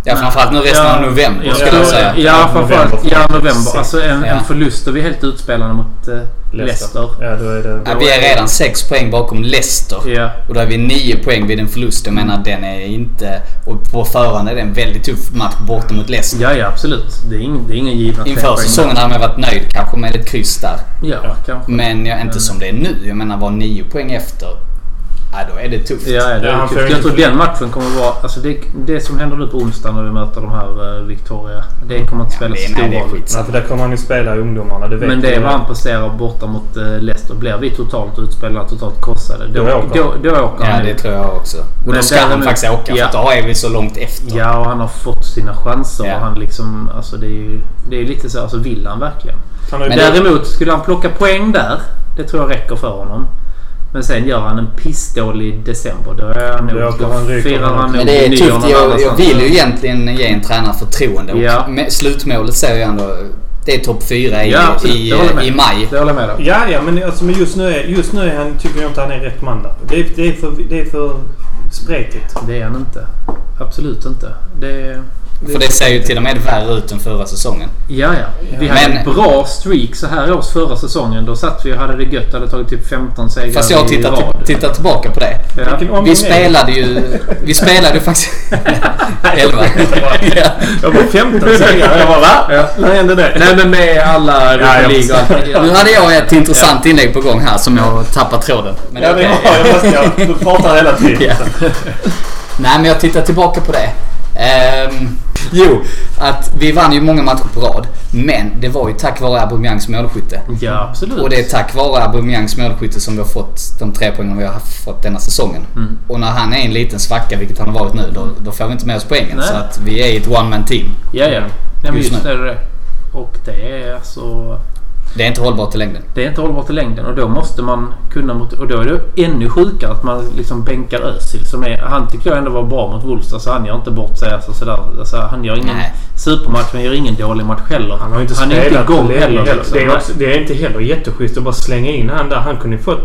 [SPEAKER 4] Ja, framförallt nu resten av november
[SPEAKER 2] ja,
[SPEAKER 4] skulle jag säga.
[SPEAKER 2] Ja, framförallt
[SPEAKER 3] November.
[SPEAKER 2] ja, november. Alltså en,
[SPEAKER 4] Ja.
[SPEAKER 2] en förlust och vi är helt utspelade mot eh, Leicester.
[SPEAKER 3] Ja, då är det...
[SPEAKER 4] Ja, vi är redan sex poäng bakom Leicester.
[SPEAKER 2] Ja.
[SPEAKER 4] Och då är vi nio poäng vid en förlust. Jag menar den är inte... Och på förhand är det en väldigt tuff match borta mot Leicester.
[SPEAKER 2] Ja, ja absolut. Det är ingen, det är ingen givna
[SPEAKER 4] Inför
[SPEAKER 2] trepoäng.
[SPEAKER 4] säsongen Mm. hade man varit nöjd kanske med ett kryss där.
[SPEAKER 2] Ja, kanske.
[SPEAKER 4] Men jag, inte som det är nu. Jag menar var nio poäng efter. Ja, då är det tufft.
[SPEAKER 2] Ja, ja, det är
[SPEAKER 3] Ja, han får
[SPEAKER 2] tufft.
[SPEAKER 3] ingen
[SPEAKER 2] Jag tror
[SPEAKER 3] förlust.
[SPEAKER 2] den matchen kommer vara... Alltså det, det som händer nu på onsdag när vi möter de här eh, Victoria. Det kommer inte spela
[SPEAKER 4] Mm. Ja, det,
[SPEAKER 2] så
[SPEAKER 4] nej, det är
[SPEAKER 2] stor roll.
[SPEAKER 4] skitsamma.
[SPEAKER 3] Nej, för där kommer han ju spela i ungdomarna. Det vet
[SPEAKER 2] Men det
[SPEAKER 3] vi.
[SPEAKER 2] vad han presterar borta mot eh, Leicester. Blir vi totalt utspelade, totalt krossade, då,
[SPEAKER 3] Då
[SPEAKER 2] då,
[SPEAKER 3] åker
[SPEAKER 2] då,
[SPEAKER 3] han.
[SPEAKER 2] åker
[SPEAKER 4] Ja,
[SPEAKER 2] han
[SPEAKER 4] det
[SPEAKER 2] ut.
[SPEAKER 4] tror jag också. Och då
[SPEAKER 2] Men
[SPEAKER 4] ska han
[SPEAKER 2] däremot-
[SPEAKER 4] faktiskt åka
[SPEAKER 2] ja.
[SPEAKER 4] för då är vi så långt efter.
[SPEAKER 2] Ja, och han har fått sina chanser.
[SPEAKER 4] Ja.
[SPEAKER 2] Och han liksom, alltså det är ju det är lite så, alltså vill han verkligen?
[SPEAKER 3] Han har ju
[SPEAKER 4] Men-
[SPEAKER 2] Däremot, skulle han plocka poäng där, det tror jag räcker för honom. Men sen gör han en pissdålig december. Då är han nog...
[SPEAKER 3] Det är
[SPEAKER 2] Då
[SPEAKER 3] att han ryker
[SPEAKER 2] firar
[SPEAKER 3] honom.
[SPEAKER 2] han
[SPEAKER 4] Men
[SPEAKER 2] nog
[SPEAKER 4] det är
[SPEAKER 2] nyår någon
[SPEAKER 4] tufft. Jag, jag
[SPEAKER 2] annanstans.
[SPEAKER 4] vill ju egentligen ge en tränare förtroende. Och
[SPEAKER 2] Ja.
[SPEAKER 4] med- Slutmålet ser jag ändå. Det är topp fyra i,
[SPEAKER 2] Ja, absolut.
[SPEAKER 4] i, eh,
[SPEAKER 2] Det håller jag med.
[SPEAKER 4] i maj.
[SPEAKER 2] Det håller jag med om.
[SPEAKER 3] Ja, ja, men alltså, men just nu, är, just nu är han, tycker jag inte han är rätt man där. Det, är- det, är för, det är för spretigt.
[SPEAKER 2] Det är han inte. Absolut inte. Det är...
[SPEAKER 4] För det ser ju till och med värre ut än förra säsongen.
[SPEAKER 2] Ja, ja. Vi hade
[SPEAKER 4] Men-
[SPEAKER 2] en bra streak så här års förra säsongen. Då satt vi och hade det gött. Hade tagit typ 15 segrar
[SPEAKER 4] Fast jag
[SPEAKER 2] i
[SPEAKER 4] tittar,
[SPEAKER 2] rad.
[SPEAKER 4] tittar tillbaka på det.
[SPEAKER 2] Ja.
[SPEAKER 3] Vilken omgång är
[SPEAKER 4] Vi
[SPEAKER 3] det?
[SPEAKER 4] spelade ju... Vi spelade ju faktiskt... Elva. ja.
[SPEAKER 3] Jag var 15 segrar. Jag bara va?
[SPEAKER 2] Ja.
[SPEAKER 3] När hände det?
[SPEAKER 2] Nej, men med alla
[SPEAKER 3] Ja, jag
[SPEAKER 2] Europa League och
[SPEAKER 4] Nu hade jag ett intressant inlägg på gång här som jag tappat tråden. Men
[SPEAKER 3] Ja,
[SPEAKER 4] det-
[SPEAKER 3] det har jag. Fast jag du pratar hela tiden.
[SPEAKER 4] Ja. Nej, men jag tittar tillbaka på det. Ehm, jo, att vi vann ju många matcher på rad. Men det var ju tack vare Aubameyangs målskytte.
[SPEAKER 2] Ja, absolut.
[SPEAKER 4] Och det är tack vare Aubameyangs målskytte som vi har fått de tre poängen vi har haft- fått denna säsongen.
[SPEAKER 2] Mm.
[SPEAKER 4] Och när han är i en liten svacka, vilket han har varit nu, då, då får vi inte med oss poängen.
[SPEAKER 2] Nej.
[SPEAKER 4] Så att vi är ett one man team.
[SPEAKER 2] Ja, ja. Nej, men
[SPEAKER 4] Just
[SPEAKER 2] just
[SPEAKER 4] nu.
[SPEAKER 2] det är det. Och det är alltså...
[SPEAKER 4] Det är inte hållbart i längden.
[SPEAKER 2] Det är inte hållbart i längden och då måste man kunna... Mot, och då är det ännu sjukare att man liksom bänkar Özil. Som är, han tycker jag ändå var bra mot Wolves. Alltså han gör inte bort sig. Alltså sådär. Alltså han gör ingen
[SPEAKER 4] Nej.
[SPEAKER 2] supermatch men gör ingen dålig match heller.
[SPEAKER 3] Han har ju inte
[SPEAKER 2] han är
[SPEAKER 3] spelat
[SPEAKER 2] inte igång
[SPEAKER 3] på länge
[SPEAKER 2] heller.
[SPEAKER 3] heller.
[SPEAKER 2] Liksom.
[SPEAKER 3] Det, är också, det är inte heller jätteschysst att bara slänga in han där. Han kunde ju fått...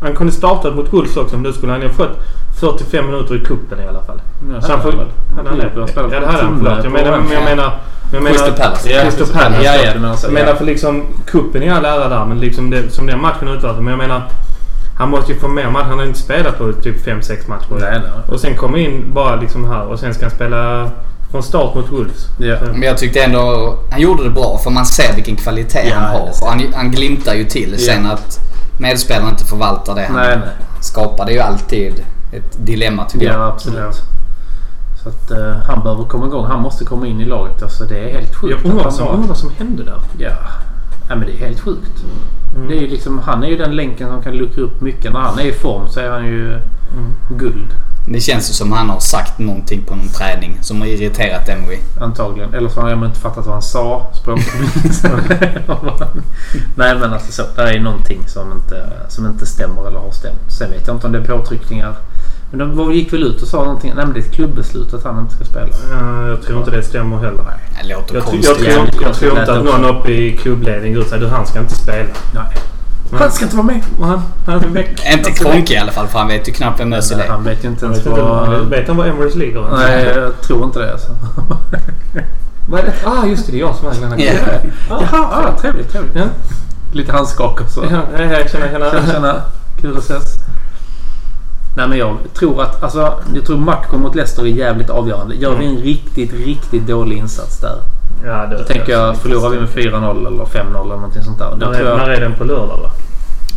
[SPEAKER 3] Han kunde startat mot Wolves också om du skulle. Han hade fått 45 minuter i cupen i alla fall.
[SPEAKER 2] Nej,
[SPEAKER 3] Så han får... Hade han det?
[SPEAKER 2] Liverpool har spelat
[SPEAKER 3] Ja, det hade han.
[SPEAKER 2] timme
[SPEAKER 3] Förlåt. Jag
[SPEAKER 2] på
[SPEAKER 3] menar...
[SPEAKER 2] honom.
[SPEAKER 3] men Jag menar... Jag menar
[SPEAKER 4] Crystal Palace.
[SPEAKER 2] Ja,
[SPEAKER 3] Crystal Palace.
[SPEAKER 2] Ja, ja, du menar så.
[SPEAKER 3] Jag menar
[SPEAKER 2] Ja.
[SPEAKER 3] för liksom kuppen i all ära där, men liksom det, som den matchen utvärdes. Men jag menar, han måste ju få mer matcher. Han har inte spelat på typ 5-6 matcher.
[SPEAKER 2] Nej, nej.
[SPEAKER 3] Och sen kom in bara liksom här och sen ska han spela från start mot Wolves.
[SPEAKER 2] Ja.
[SPEAKER 3] Så-
[SPEAKER 4] Men jag tyckte ändå... Han gjorde det bra för man ser vilken kvalitet
[SPEAKER 2] Ja,
[SPEAKER 4] han har.
[SPEAKER 2] det ser
[SPEAKER 4] Och han, han glimtar ju till sen att medspelarna inte förvaltar det han
[SPEAKER 2] Nej, nej.
[SPEAKER 4] skapar. Det är ju alltid ett dilemma tycker jag.
[SPEAKER 2] Ja, absolut.
[SPEAKER 3] Ja.
[SPEAKER 2] Så att eh, han behöver komma igång. Han måste komma in i laget. Alltså det är helt sjukt.
[SPEAKER 3] Jag undrar vad
[SPEAKER 2] att han
[SPEAKER 3] som,
[SPEAKER 2] har-
[SPEAKER 3] undrar vad som hände där. Mm.
[SPEAKER 2] Ja. Nej, men det är helt sjukt. Det är ju liksom, han är ju den länken som kan luckra upp mycket. När han är i form så är han ju
[SPEAKER 3] Mm.
[SPEAKER 2] guld.
[SPEAKER 4] Det känns ju som han har sagt någonting på någon träning som har irriterat Emory.
[SPEAKER 2] Antagligen. Eller så har jag inte fattat vad han sa. Språkförbindelse. Nej men alltså så. Där är ju någonting som inte, som inte stämmer eller har stämt. Sen vet jag inte om det är påtryckningar. Men de var- gick väl ut och sa någonting. Nej men det är ett klubbeslut att han inte ska spela.
[SPEAKER 3] Eh, jag tror inte det stämmer heller.
[SPEAKER 4] Det låter
[SPEAKER 3] Jag, tror-
[SPEAKER 4] konstigt.
[SPEAKER 3] jag, tror, inte- jag
[SPEAKER 2] konstigt
[SPEAKER 3] tror inte att
[SPEAKER 2] lät också.
[SPEAKER 3] någon uppe i klubbledningen går ut och säger du han ska inte spela.
[SPEAKER 2] Nej.
[SPEAKER 3] Men-
[SPEAKER 2] Han ska inte vara med.
[SPEAKER 3] Han, han är väck.
[SPEAKER 4] Inte Kronke i alla fall för han vet ju knappt vem Özil är.
[SPEAKER 2] Han vet ju inte
[SPEAKER 3] Jag
[SPEAKER 2] ens
[SPEAKER 3] vet inte,
[SPEAKER 2] vad...
[SPEAKER 3] Vet han vad Emirates League har?
[SPEAKER 2] Nej jag tror inte det alltså.
[SPEAKER 3] Vad är det? Ah, just det. Det är jag som äger den
[SPEAKER 4] Ja.
[SPEAKER 3] här.
[SPEAKER 2] Jaha, ah, trevligt, trevligt.
[SPEAKER 3] Ja.
[SPEAKER 2] Lite handskak och så.
[SPEAKER 3] Ja, hej, hej, tjena,
[SPEAKER 2] Tjena,
[SPEAKER 3] tjena.
[SPEAKER 2] tjena. QSS. Nej men jag tror att alltså, jag tror matchen mot Leicester är jävligt avgörande. Gör vi en riktigt, riktigt dålig insats där.
[SPEAKER 3] Ja, det,
[SPEAKER 2] Då tänker jag, förlorar vi med 4-0 eller 5-0 eller någonting sånt där. Då
[SPEAKER 3] När är,
[SPEAKER 2] tror
[SPEAKER 3] när
[SPEAKER 2] jag
[SPEAKER 3] är den på lördag va?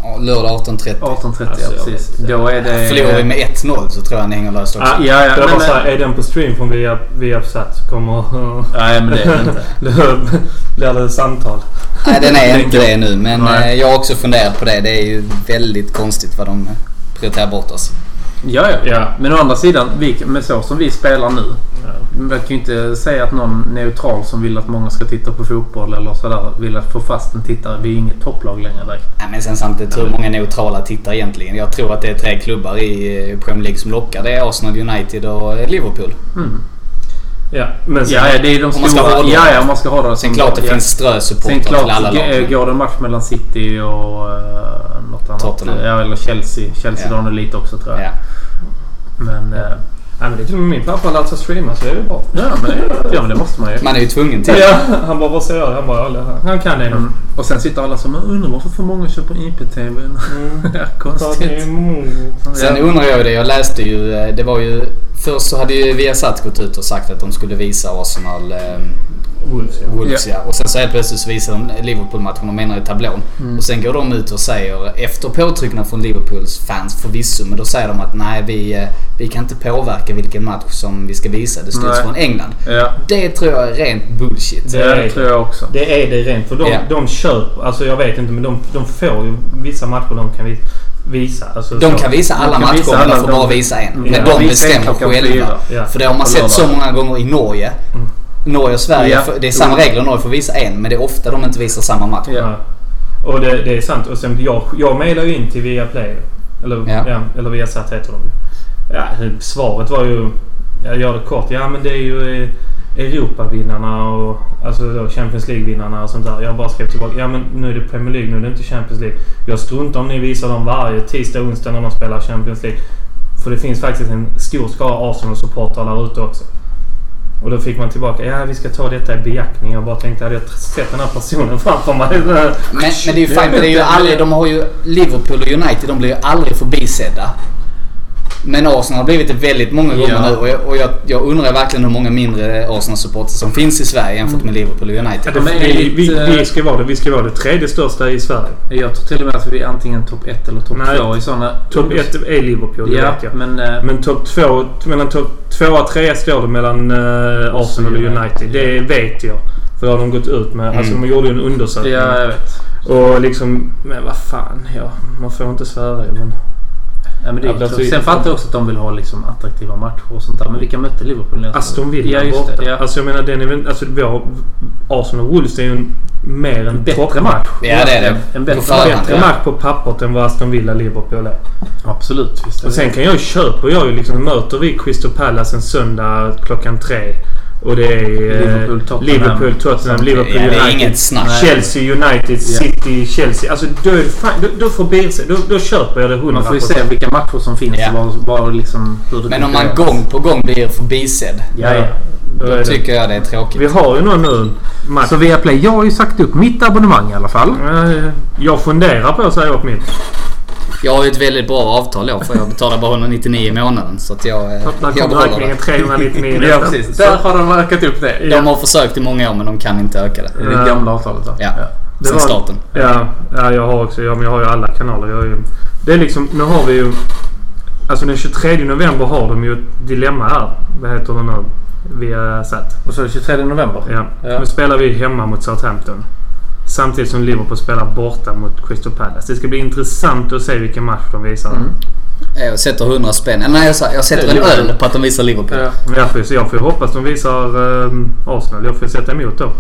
[SPEAKER 4] Ja, Lördag 18.30.
[SPEAKER 2] 18.30,
[SPEAKER 3] Alltså,
[SPEAKER 2] ja,
[SPEAKER 3] jag
[SPEAKER 2] precis.
[SPEAKER 3] vet inte.
[SPEAKER 2] Då är det...
[SPEAKER 4] Förlorar vi med 1-0 så tror jag han hänger löst också.
[SPEAKER 2] eh, Ja, ja,
[SPEAKER 3] Ah, jag
[SPEAKER 2] nej,
[SPEAKER 3] bara
[SPEAKER 2] men-
[SPEAKER 3] så här, är den på stream från via, via så kommer...
[SPEAKER 2] Nej men det är det inte.
[SPEAKER 3] blir det samtal.
[SPEAKER 4] Nej, den är inte det nu men
[SPEAKER 2] Nej.
[SPEAKER 4] eh, jag har också funderat på det. Det är ju väldigt konstigt vad de eh, prioriterar bort oss.
[SPEAKER 2] Ja, ja.
[SPEAKER 3] Ja.
[SPEAKER 2] Men å andra sidan, vi, men så som vi spelar nu. Man kan ju inte säga att någon neutral som vill att många ska titta på fotboll eller sådär vill att få fast en tittare. Vi är inget topplag längre direkt.
[SPEAKER 4] Nej, men sen samtidigt hur många neutrala tittar egentligen. Jag tror att det är tre klubbar i eh, Premier League som lockar. Det är Arsenal, United och eh, Liverpool.
[SPEAKER 3] Ja, men sen,
[SPEAKER 2] Ja, ja, det är de
[SPEAKER 4] Alltså, Om man ska
[SPEAKER 2] stora.
[SPEAKER 4] ha det.
[SPEAKER 2] Ja, ja, om man ska ha det.
[SPEAKER 4] Sen klart det
[SPEAKER 2] Mm, ja.
[SPEAKER 4] finns
[SPEAKER 2] Sen
[SPEAKER 4] strösupportrar till alla
[SPEAKER 2] klart eh,
[SPEAKER 4] lag.
[SPEAKER 2] g-
[SPEAKER 4] men-
[SPEAKER 2] går det en match mellan City och eh, något annat.
[SPEAKER 4] Tottenham.
[SPEAKER 2] Ja, eller Chelsea. Chelsea
[SPEAKER 4] Ja.
[SPEAKER 2] drar nog lite också tror jag.
[SPEAKER 4] Ja.
[SPEAKER 2] Men, eh,
[SPEAKER 3] Nej, men det är till och med min pappa lär sig streama så det är väl bra.
[SPEAKER 2] ja, men, ja, men det måste man ju.
[SPEAKER 4] Man är ju tvungen till.
[SPEAKER 3] Ja, han bara, vad säger jag? Han bara, "Ja, det- han kan det nog.
[SPEAKER 2] Mm. Och sen sitter alla som undrar varför för många köper IPTV.
[SPEAKER 4] Mm.
[SPEAKER 2] ja,
[SPEAKER 3] Så att det är
[SPEAKER 2] konstigt.
[SPEAKER 3] många-
[SPEAKER 4] Sen
[SPEAKER 2] Ja.
[SPEAKER 4] undrar jag ju det. Jag läste ju... eh, Det var ju... Först så hade ju Viasat gått ut och sagt att de skulle visa Arsenal eh,
[SPEAKER 3] Wolves, ja.
[SPEAKER 4] Wolves ja. Och sen så helt plötsligt så visar de Liverpool-matchen de menar i tablån.
[SPEAKER 2] Mm.
[SPEAKER 4] Och sen går de ut och säger, efter påtryckningar från Liverpools fans förvisso, men då säger de att nej vi, eh, vi kan inte påverka vilken match som vi ska visa. Det styrs
[SPEAKER 2] Nej.
[SPEAKER 4] från England.
[SPEAKER 2] Ja,
[SPEAKER 4] Det tror jag är rent bullshit.
[SPEAKER 3] Det är-
[SPEAKER 2] det tror jag också.
[SPEAKER 3] Det är det rent. För de,
[SPEAKER 4] Ja.
[SPEAKER 3] de köper, alltså jag vet inte men de, de får ju vissa matcher de kan vi- visa. Alltså,
[SPEAKER 4] De
[SPEAKER 3] så.
[SPEAKER 4] kan visa alla
[SPEAKER 2] kan
[SPEAKER 4] matcher
[SPEAKER 2] visa
[SPEAKER 4] men
[SPEAKER 2] alla,
[SPEAKER 4] de får bara
[SPEAKER 2] de-
[SPEAKER 4] visa en. Men
[SPEAKER 2] Ja,
[SPEAKER 4] de
[SPEAKER 2] visa en
[SPEAKER 4] bestämmer
[SPEAKER 2] klockan
[SPEAKER 4] själva.
[SPEAKER 3] fyra. Ja.
[SPEAKER 4] För det har man
[SPEAKER 2] På
[SPEAKER 4] sett så
[SPEAKER 2] lördag.
[SPEAKER 4] många gånger i Norge. Norge och Sverige,
[SPEAKER 2] Mm. Ja.
[SPEAKER 4] för- det är samma regler. Norge får visa en men det är ofta de inte visar samma match.
[SPEAKER 2] Ja.
[SPEAKER 3] Ja. Och det, det är sant. Och sen jag, jag mailar ju in till Viaplay Eller,
[SPEAKER 4] Ja.
[SPEAKER 3] ja. eller Viasat heter de ju. ja, Svaret var ju... Jag gör det kort. Ja, men det är ju eh, Europavinnarna och alltså då Champions League-vinnarna och sånt där. Jag bara skrev tillbaka. Ja, men nu är det Premier League. Nu är det inte Champions League. Jag struntar om ni visar dem varje tisdag och onsdag när de spelar Champions League. För det finns faktiskt en stor skara Arsenal-supportrar där ute också. Och då fick man tillbaka. Ja, vi ska ta detta i beaktning. Jag bara tänkte, hade jag sett den här personen framför mig?
[SPEAKER 4] Men, men det är ju fint, men det är ju aldrig, de har ju Liverpool och United, de blir ju aldrig förbisedda. Men Arsenal har blivit det väldigt många gånger
[SPEAKER 2] Ja.
[SPEAKER 4] nu och, jag, och jag, jag undrar verkligen hur många mindre Arsenal-supportrar som finns i Sverige jämfört med Liverpool och United.
[SPEAKER 2] De är
[SPEAKER 3] vi, vi,
[SPEAKER 2] lite-
[SPEAKER 3] vi, ska vara det, vi ska vara det tredje största i Sverige.
[SPEAKER 2] Jag tror till och med att vi är antingen topp 1 eller topp
[SPEAKER 3] Nej,
[SPEAKER 2] 2 i sådana...
[SPEAKER 3] Topp ett är Liverpool, det
[SPEAKER 2] Ja,
[SPEAKER 3] vet jag. Men,
[SPEAKER 2] men... eh,
[SPEAKER 3] topp två, mellan topp två och tre står det mellan eh, Arsenal och United. Det vet jag. För det har de gått ut med. Alltså de gjorde ju en undersökning.
[SPEAKER 2] Mm. Ja, jag vet.
[SPEAKER 3] Och liksom... Men vad fan. Ja, man får inte svära ju, men...
[SPEAKER 2] Ja, men det är
[SPEAKER 3] Ja, det är
[SPEAKER 2] klart.
[SPEAKER 3] så-
[SPEAKER 2] Sen fattar jag också att de vill ha liksom, attraktiva matcher och sånt där. Men vilka mötte Liverpool nästa
[SPEAKER 3] Aston Villa
[SPEAKER 2] Ja, just
[SPEAKER 3] borta.
[SPEAKER 2] det. Ja.
[SPEAKER 3] Alltså jag menar den är väl... Alltså vår... Arsenal och Wolves det är ju en, mer en
[SPEAKER 2] bättre
[SPEAKER 3] toppmatch.
[SPEAKER 2] match.
[SPEAKER 4] Ja, det är det.
[SPEAKER 2] En
[SPEAKER 4] På
[SPEAKER 2] bättre
[SPEAKER 4] förhand.
[SPEAKER 2] match.
[SPEAKER 3] Bättre
[SPEAKER 4] Ja.
[SPEAKER 3] match på pappret än vad Aston Villa-Liverpool är.
[SPEAKER 2] Absolut. Visst är
[SPEAKER 3] Och
[SPEAKER 2] det.
[SPEAKER 3] sen kan jag ju köpa. Jag ju liksom möter vi Crystal Palace en söndag klockan tre. Och det är eh,
[SPEAKER 2] Liverpool, Tottenham.
[SPEAKER 3] Liverpool, Tottenham, Liverpool
[SPEAKER 4] Ja, det är
[SPEAKER 3] United.
[SPEAKER 4] inget snack.
[SPEAKER 3] Chelsea United, City, Chelsea. Alltså då, är det fan, då, då får Birse, då, då köper jag det 100%.
[SPEAKER 2] Man får ju se vilka matcher som finns
[SPEAKER 4] Ja.
[SPEAKER 2] och vad, vad liksom, hur det
[SPEAKER 4] Men om man
[SPEAKER 2] konkurreras.
[SPEAKER 4] gång på gång blir förbisedd,
[SPEAKER 2] Ja, ja.
[SPEAKER 3] Då är
[SPEAKER 4] då
[SPEAKER 3] det.
[SPEAKER 4] tycker jag det är tråkigt.
[SPEAKER 3] Vi har ju någon nu. Max.
[SPEAKER 2] Så Viaplay, jag har ju sagt upp mitt abonnemang i alla fall.
[SPEAKER 3] Eh, Jag funderar på att säga upp mitt.
[SPEAKER 4] Jag har ju ett väldigt bra avtal då för jag betalar bara 199 i månaden så att jag, eh,
[SPEAKER 3] Där
[SPEAKER 4] jag
[SPEAKER 3] kom
[SPEAKER 4] behåller det.
[SPEAKER 3] räkningen 399
[SPEAKER 2] Ja, precis.
[SPEAKER 3] Så
[SPEAKER 2] Där har de ökat upp det.
[SPEAKER 4] De har försökt i många år men de kan inte öka det.
[SPEAKER 2] I det gamla avtalet va?
[SPEAKER 4] Ja.
[SPEAKER 3] det
[SPEAKER 4] Sen
[SPEAKER 3] var-
[SPEAKER 4] starten.
[SPEAKER 3] Ja, ja, jag har också. Ja, men jag har ju alla kanaler. Jag har ju, det är liksom, nu har vi ju... Alltså den 23 november har de ju ett dilemma här. Vad heter det nu? Vi har satt.
[SPEAKER 2] Och så är det 23 november.
[SPEAKER 3] Ja.
[SPEAKER 2] Ja.
[SPEAKER 3] Nu spelar vi hemma mot Southampton. Samtidigt som Liverpool spelar borta mot Crystal Palace. Det ska bli intressant att se vilken match de visar.
[SPEAKER 2] Mm.
[SPEAKER 4] Eh, Jag sätter 100 spänn. Eh, Nej, jag, sa- jag sätter en
[SPEAKER 2] Liverpool.
[SPEAKER 4] öl på att de visar Liverpool.
[SPEAKER 2] Ja.
[SPEAKER 3] Men Jag får, ju se- jag får ju hoppas de visar ehm, Arsenal. Jag får ju sätta emot då.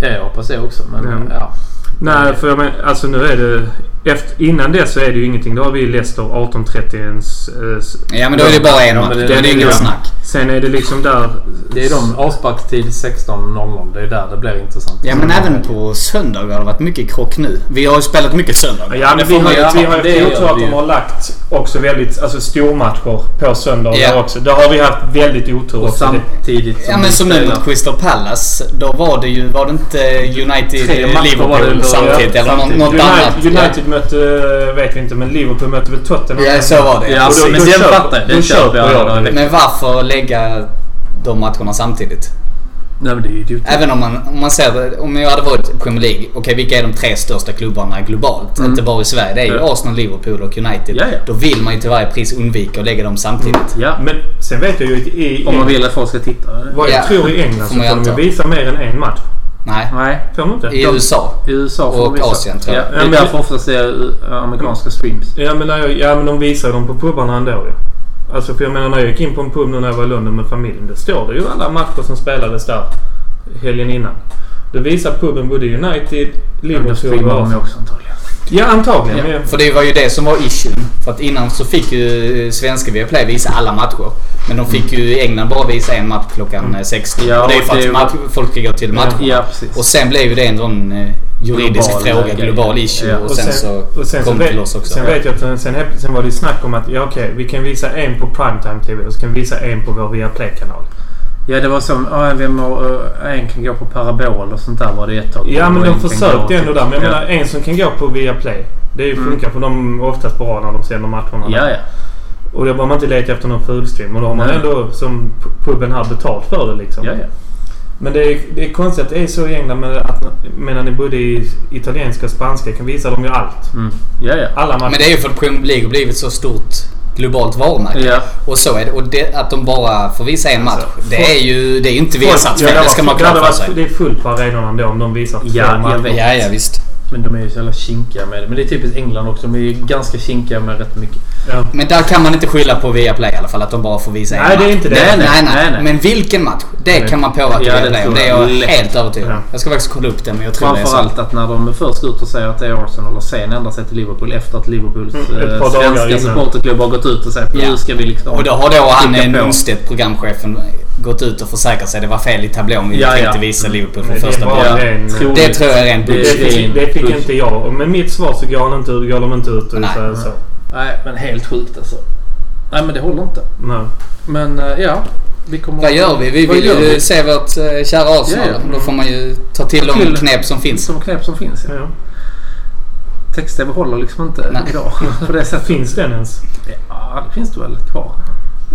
[SPEAKER 2] Ja, jag hoppas det också. Men,
[SPEAKER 3] Ja.
[SPEAKER 2] ja. Mm.
[SPEAKER 3] Nej, för jag men, alltså nu är det... Efter, innan det så är det ju ingenting. Då har vi Leicester 18.30. en s- eh, s-
[SPEAKER 4] Ja, men då är det bara en match.
[SPEAKER 2] men det-
[SPEAKER 4] Då är det
[SPEAKER 2] det-
[SPEAKER 4] inget
[SPEAKER 2] ja.
[SPEAKER 4] snack.
[SPEAKER 3] Sen är det liksom där...
[SPEAKER 5] Det är de avsparkstid 16.00. Det är där det blir intressant.
[SPEAKER 4] Ja, men även på söndagar har det varit mycket krock nu. Vi har ju spelat mycket söndagar.
[SPEAKER 3] Ja,
[SPEAKER 4] Det
[SPEAKER 3] men
[SPEAKER 4] får
[SPEAKER 3] vi
[SPEAKER 4] man
[SPEAKER 3] har ju
[SPEAKER 4] göra.
[SPEAKER 3] vi har ju
[SPEAKER 5] det gör
[SPEAKER 3] tur att
[SPEAKER 5] vi
[SPEAKER 3] de
[SPEAKER 5] ju.
[SPEAKER 3] har lagt också väldigt alltså, stormatcher på söndagar
[SPEAKER 4] Ja.
[SPEAKER 3] också. Där har vi haft väldigt otur.
[SPEAKER 2] Och
[SPEAKER 3] också.
[SPEAKER 2] samtidigt
[SPEAKER 4] Ja men
[SPEAKER 2] vi
[SPEAKER 4] som nu
[SPEAKER 2] spelar-
[SPEAKER 4] mot Crystal Palace. Då var det ju... Var det inte United
[SPEAKER 2] Tre matcher var det
[SPEAKER 4] Liverpool
[SPEAKER 2] då,
[SPEAKER 4] samtidigt?
[SPEAKER 2] ja,
[SPEAKER 4] Eller nå-
[SPEAKER 2] samtidigt.
[SPEAKER 4] något annat?
[SPEAKER 3] United, United mötte, vet vi inte, men Liverpool mötte väl Tottenham?
[SPEAKER 4] Ja, så var det.
[SPEAKER 2] Ja,
[SPEAKER 4] Och då-
[SPEAKER 2] men
[SPEAKER 3] då
[SPEAKER 2] den
[SPEAKER 3] köper-
[SPEAKER 2] fattar jag.
[SPEAKER 3] då
[SPEAKER 2] Den köper
[SPEAKER 3] köper
[SPEAKER 2] jag.
[SPEAKER 3] jag
[SPEAKER 2] alla dagar i
[SPEAKER 3] det.
[SPEAKER 2] veckan.
[SPEAKER 4] Men varför lägga de matcherna samtidigt?
[SPEAKER 2] Nej men det är ju idioti.
[SPEAKER 4] Även om man, om man ser det, om jag hade varit Premier League. Okej, vilka är de tre största klubbarna globalt? Inte bara i Sverige. Det är ju
[SPEAKER 2] Mm. Ja.
[SPEAKER 4] Arsenal, Liverpool och United.
[SPEAKER 2] Ja, Mm. ja.
[SPEAKER 4] Då vill man ju till varje pris undvika att lägga dem samtidigt.
[SPEAKER 2] Ja,
[SPEAKER 3] Men sen vet jag ju i... i
[SPEAKER 2] om man vill att folk ska titta.
[SPEAKER 3] Vad jag
[SPEAKER 4] Ja.
[SPEAKER 3] tror i England
[SPEAKER 4] Får
[SPEAKER 3] så
[SPEAKER 4] man ju
[SPEAKER 3] får de
[SPEAKER 4] anta.
[SPEAKER 3] visa mer än en match.
[SPEAKER 4] Nej.
[SPEAKER 2] Nej.
[SPEAKER 3] Får de inte?
[SPEAKER 4] I USA.
[SPEAKER 2] I USA får
[SPEAKER 4] Och
[SPEAKER 2] de visa.
[SPEAKER 4] Asien, tror jag.
[SPEAKER 2] Ja, det
[SPEAKER 3] Ja,
[SPEAKER 2] är
[SPEAKER 3] men-
[SPEAKER 2] därför oftast det är amerikanska streams.
[SPEAKER 3] Ja men, när jag, ja men de visar dem på pubarna ändå ju. Alltså för jag menar när jag gick in på en pub nu när jag var i London med familjen. Då står det ju alla matcher som spelades där helgen innan. Då visar puben både United,
[SPEAKER 2] Då
[SPEAKER 3] Liverpool och
[SPEAKER 2] streamar de ju
[SPEAKER 3] Arsenal.
[SPEAKER 2] också antagligen.
[SPEAKER 3] Ja antagligen.
[SPEAKER 4] Ja,
[SPEAKER 3] men-
[SPEAKER 4] För det var ju det som var issuen. För att innan så fick ju eh, svenska Viaplay visa alla matcher. Men de fick ju i England bara visa en match klockan eh, 16.
[SPEAKER 2] Ja,
[SPEAKER 4] och det är
[SPEAKER 2] och
[SPEAKER 4] för att
[SPEAKER 2] det-
[SPEAKER 4] match, folk ska gå till matcherna.
[SPEAKER 2] Ja, precis.
[SPEAKER 4] Och sen blev ju det ändå en eh, juridisk
[SPEAKER 2] Global
[SPEAKER 4] fråga,
[SPEAKER 2] grej.
[SPEAKER 4] global issue.
[SPEAKER 2] Ja.
[SPEAKER 4] Och, sen, så
[SPEAKER 3] och sen
[SPEAKER 4] kom det
[SPEAKER 3] vet-
[SPEAKER 4] till oss också.
[SPEAKER 3] Sen vet jag att sen, sen, sen var det ju snack om att ja, okej, vi kan visa en på primetime TV och så kan vi visa en på vår Viaplay-kanal.
[SPEAKER 2] Ja, det var som ja, vem har, eh, en kan gå på parabol och sånt där var det ett tag.
[SPEAKER 3] Ja, men
[SPEAKER 2] Och en
[SPEAKER 3] de
[SPEAKER 2] kan gå
[SPEAKER 3] försökte
[SPEAKER 2] till-
[SPEAKER 3] ändå där. Men jag
[SPEAKER 2] Ja.
[SPEAKER 3] menar, en som kan gå på Viaplay. Det är ju funkar för de är oftast bra när de sänder matcherna.
[SPEAKER 2] Ja, ja.
[SPEAKER 3] Och då behöver man inte leta efter någon fulstream. Och då har man
[SPEAKER 2] Nej.
[SPEAKER 3] ändå, som pu- puben här, betalt för det liksom.
[SPEAKER 2] ja, ja.
[SPEAKER 3] Men det är, det är konstigt att det är så i England men att, medan ni både i italienska och spanska kan visa dem ju allt.
[SPEAKER 2] Mm. ja, ja.
[SPEAKER 3] Alla matcher.
[SPEAKER 4] Men det är ju för att Premier League har blivit så stort globalt varumärke.
[SPEAKER 2] Ja.
[SPEAKER 4] Och så är det. Och det, att de bara får visa en match.
[SPEAKER 3] Alltså,
[SPEAKER 4] det
[SPEAKER 3] folk-
[SPEAKER 4] är ju det är ju inte
[SPEAKER 3] Folk-
[SPEAKER 4] Viasats
[SPEAKER 3] ja,
[SPEAKER 4] fel.
[SPEAKER 3] det
[SPEAKER 4] Det ska
[SPEAKER 3] var-
[SPEAKER 4] man ha
[SPEAKER 3] det hade
[SPEAKER 4] klart för
[SPEAKER 3] varit-
[SPEAKER 4] sig.
[SPEAKER 3] Det är fullt på arenorna ändå om de visar
[SPEAKER 2] Ja, jag
[SPEAKER 3] matcher.
[SPEAKER 2] vet.
[SPEAKER 4] Ja, ja visst.
[SPEAKER 2] Men de är ju så jävla kinkiga med det. Men det är typiskt England också. De är ju ganska kinkiga med rätt mycket.
[SPEAKER 3] Ja.
[SPEAKER 4] Men där kan man inte skylla på Viaplay i alla fall, att de bara får visa en
[SPEAKER 3] Nej, det är
[SPEAKER 4] match.
[SPEAKER 3] inte det.
[SPEAKER 4] Nej nej nej,
[SPEAKER 2] Nej, nej.
[SPEAKER 4] Men vilken match? Det
[SPEAKER 2] Nej.
[SPEAKER 4] kan man påverka
[SPEAKER 2] Ja,
[SPEAKER 4] ja,
[SPEAKER 2] det
[SPEAKER 4] det, om.
[SPEAKER 2] tror
[SPEAKER 4] Det är
[SPEAKER 2] jag.
[SPEAKER 4] jag
[SPEAKER 2] Lätt.
[SPEAKER 4] helt övertygad om.
[SPEAKER 2] Ja.
[SPEAKER 4] Jag ska faktiskt kolla upp det, men jag tror det är sant.
[SPEAKER 2] Framförallt att när de är först ut och säger att det är Arsenal och sen ändrar sig till Liverpool efter att Liverpools
[SPEAKER 3] Mm, ett
[SPEAKER 2] eh,
[SPEAKER 3] par dagar
[SPEAKER 2] svenska
[SPEAKER 3] innan.
[SPEAKER 2] supporterklubb har gått ut och sagt
[SPEAKER 4] Ja.
[SPEAKER 2] nu ska vi liksom...
[SPEAKER 4] Och då har då han
[SPEAKER 2] Klicka
[SPEAKER 4] eh,
[SPEAKER 2] på.
[SPEAKER 4] Nunstedt, programchefen, gått ut och försäkrat sig. Det var fel i tablån. Vi
[SPEAKER 2] Ja, Mm.
[SPEAKER 4] tänkte
[SPEAKER 2] ja.
[SPEAKER 4] visa Liverpool från
[SPEAKER 3] Nej, det är
[SPEAKER 4] första
[SPEAKER 3] bara-
[SPEAKER 4] början.
[SPEAKER 3] det-
[SPEAKER 2] troligt.
[SPEAKER 4] Det tror jag är en
[SPEAKER 3] Det,
[SPEAKER 2] Det är
[SPEAKER 3] fick,
[SPEAKER 2] fin.
[SPEAKER 3] det fick
[SPEAKER 2] Puss.
[SPEAKER 3] inte jag. Och Med mitt svar så går, han inte, går de inte ut och
[SPEAKER 4] Nej.
[SPEAKER 3] säger så.
[SPEAKER 2] Nej, men helt sjukt alltså. Nej, men det håller inte.
[SPEAKER 3] Nej.
[SPEAKER 2] Men eh, ja, vi kommer...
[SPEAKER 4] Vad gör vi? Vi
[SPEAKER 2] Vad
[SPEAKER 4] vill
[SPEAKER 2] gör
[SPEAKER 4] ju
[SPEAKER 2] vi?
[SPEAKER 4] se vårt eh, kära Arsenal.
[SPEAKER 2] Ja, ja.
[SPEAKER 4] Då får man ju ta till
[SPEAKER 2] Ta
[SPEAKER 4] de
[SPEAKER 2] till-
[SPEAKER 4] knep som finns.
[SPEAKER 2] Som knep som finns. Ja.
[SPEAKER 3] Ja.
[SPEAKER 2] Text-tv håller liksom inte
[SPEAKER 4] Nej.
[SPEAKER 2] idag på det sättet.
[SPEAKER 3] Finns den ens?
[SPEAKER 2] Ja, det finns det väl kvar.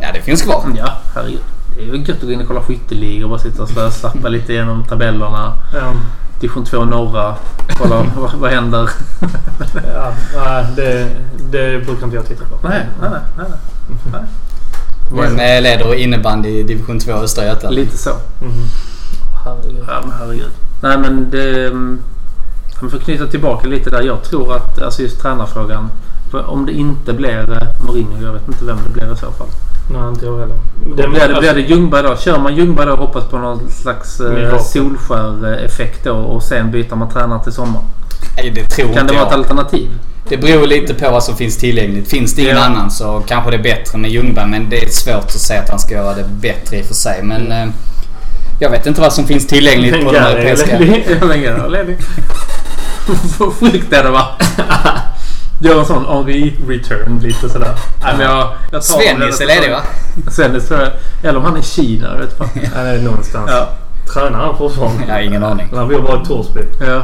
[SPEAKER 4] Ja, det finns kvar.
[SPEAKER 2] Ja, herregud. Det är ju gött att gå in och kolla skytteligor och bara sitta och slösappa lite genom tabellerna.
[SPEAKER 3] Ja.
[SPEAKER 2] Division 2 norra. Kolla vad, vad händer.
[SPEAKER 3] Ja, nej, det, det brukar inte jag titta på.
[SPEAKER 2] Nej, nej, nej. nej.
[SPEAKER 4] Vem eh, leder innebandy i division 2 Östra Götaland?
[SPEAKER 2] Mm. Lite så.
[SPEAKER 3] Mhm.
[SPEAKER 2] Ja, men herregud. Nej, men det... mm, För att knyta tillbaka lite där. Jag tror att alltså just tränarfrågan. för Om det inte blir eh, Mourinho, jag vet inte vem det blir i så fall.
[SPEAKER 3] Nej, inte jag heller.
[SPEAKER 2] Det blir, det, blir det Ljungberg då? Kör man Ljungberg då och hoppas på någon slags eh,
[SPEAKER 3] Mirakel.
[SPEAKER 2] Solskär-effekt då och sen byter man tränare till sommar?
[SPEAKER 4] Nej, det tror
[SPEAKER 2] Kan
[SPEAKER 4] inte
[SPEAKER 2] det vara ett
[SPEAKER 4] jag.
[SPEAKER 2] alternativ?
[SPEAKER 4] Det beror lite på vad som finns tillgängligt. Finns det ingen
[SPEAKER 2] Ja.
[SPEAKER 4] annan så kanske det är bättre med Ljungberg. Men det är svårt att säga att han ska göra det bättre i och för sig. Men
[SPEAKER 2] Mm.
[SPEAKER 4] eh, jag vet inte vad som finns tillgängligt på de
[SPEAKER 3] Gary är
[SPEAKER 4] europeiska...
[SPEAKER 3] ledig.
[SPEAKER 2] Hur länge är det ledig? Så sjukt är det va? Gör en sån Henri-return lite sådär. Nej, men jag, jag tar
[SPEAKER 4] Svennis är ledig va?
[SPEAKER 2] Svennis tror jag. Eller om han är i Kina, jag vet fan.
[SPEAKER 3] Ja, det är någonstans.
[SPEAKER 2] Ja.
[SPEAKER 3] Tränar han fortfarande?
[SPEAKER 4] Jag har ingen aning.
[SPEAKER 3] Han bor bara i Torsby.
[SPEAKER 2] ja.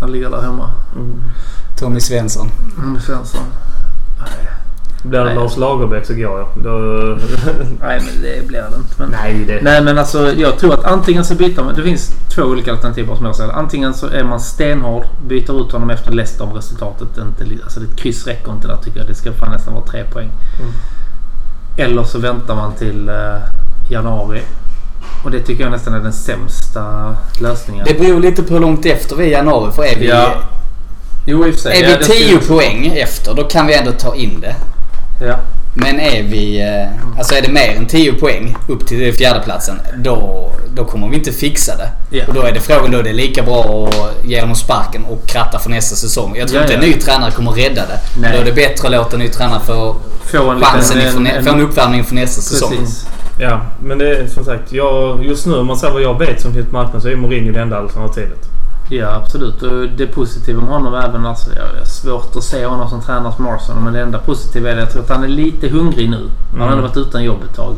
[SPEAKER 2] Han ligger där hemma.
[SPEAKER 4] Tommy Svensson.
[SPEAKER 2] Mm, Svensson.
[SPEAKER 3] Blir det
[SPEAKER 2] Nej.
[SPEAKER 3] Lars Lagerbäck så går jag. Då...
[SPEAKER 2] Nej, men det blir det inte. Men...
[SPEAKER 3] Nej, det...
[SPEAKER 2] Nej men alltså jag tror att antingen så byter man. Det finns två olika alternativ som jag ser det. Antingen så är man stenhård. Byter ut honom efter Leicester om resultatet inte... li- Alltså ett kryss räcker inte där tycker jag. Det ska fan nästan vara tre poäng.
[SPEAKER 3] Mm.
[SPEAKER 2] Eller så väntar man till eh, januari. Och det tycker jag nästan är den sämsta lösningen.
[SPEAKER 4] Det beror lite på hur långt efter vi är i januari. För är vi,
[SPEAKER 2] Ja. Jo i och för sig.
[SPEAKER 4] är
[SPEAKER 2] Ja,
[SPEAKER 4] vi
[SPEAKER 2] det skulle-
[SPEAKER 4] 10 poäng efter då kan vi ändå ta in det.
[SPEAKER 2] Ja.
[SPEAKER 4] Men är vi... eh, Alltså är det mer än 10 poäng upp till fjärdeplatsen då, då kommer vi inte fixa det.
[SPEAKER 2] Ja.
[SPEAKER 4] Och då är det frågan då är det lika bra att ge dem sparken och kratta för nästa säsong. Jag tror
[SPEAKER 2] Ja,
[SPEAKER 4] inte
[SPEAKER 2] ja.
[SPEAKER 4] en ny tränare kommer rädda det.
[SPEAKER 2] Nej.
[SPEAKER 4] Då är det bättre att låta en ny tränare få
[SPEAKER 2] Få en
[SPEAKER 4] chansen,
[SPEAKER 2] liten...
[SPEAKER 4] inför nä- få en uppvärmning för nästa säsong.
[SPEAKER 2] precis.
[SPEAKER 3] Ja, men det är som sagt. Jag, just nu om man säger vad jag vet som finns på marknaden så är Mourinho det enda alternativet.
[SPEAKER 2] Ja absolut. Och det positiva med honom även alltså, jag det är svårt att se honom som tränare som Arsenal. Men det enda positiva är att jag tror att han är lite hungrig nu. Han har
[SPEAKER 3] Mm.
[SPEAKER 2] ändå varit utan jobb ett tag.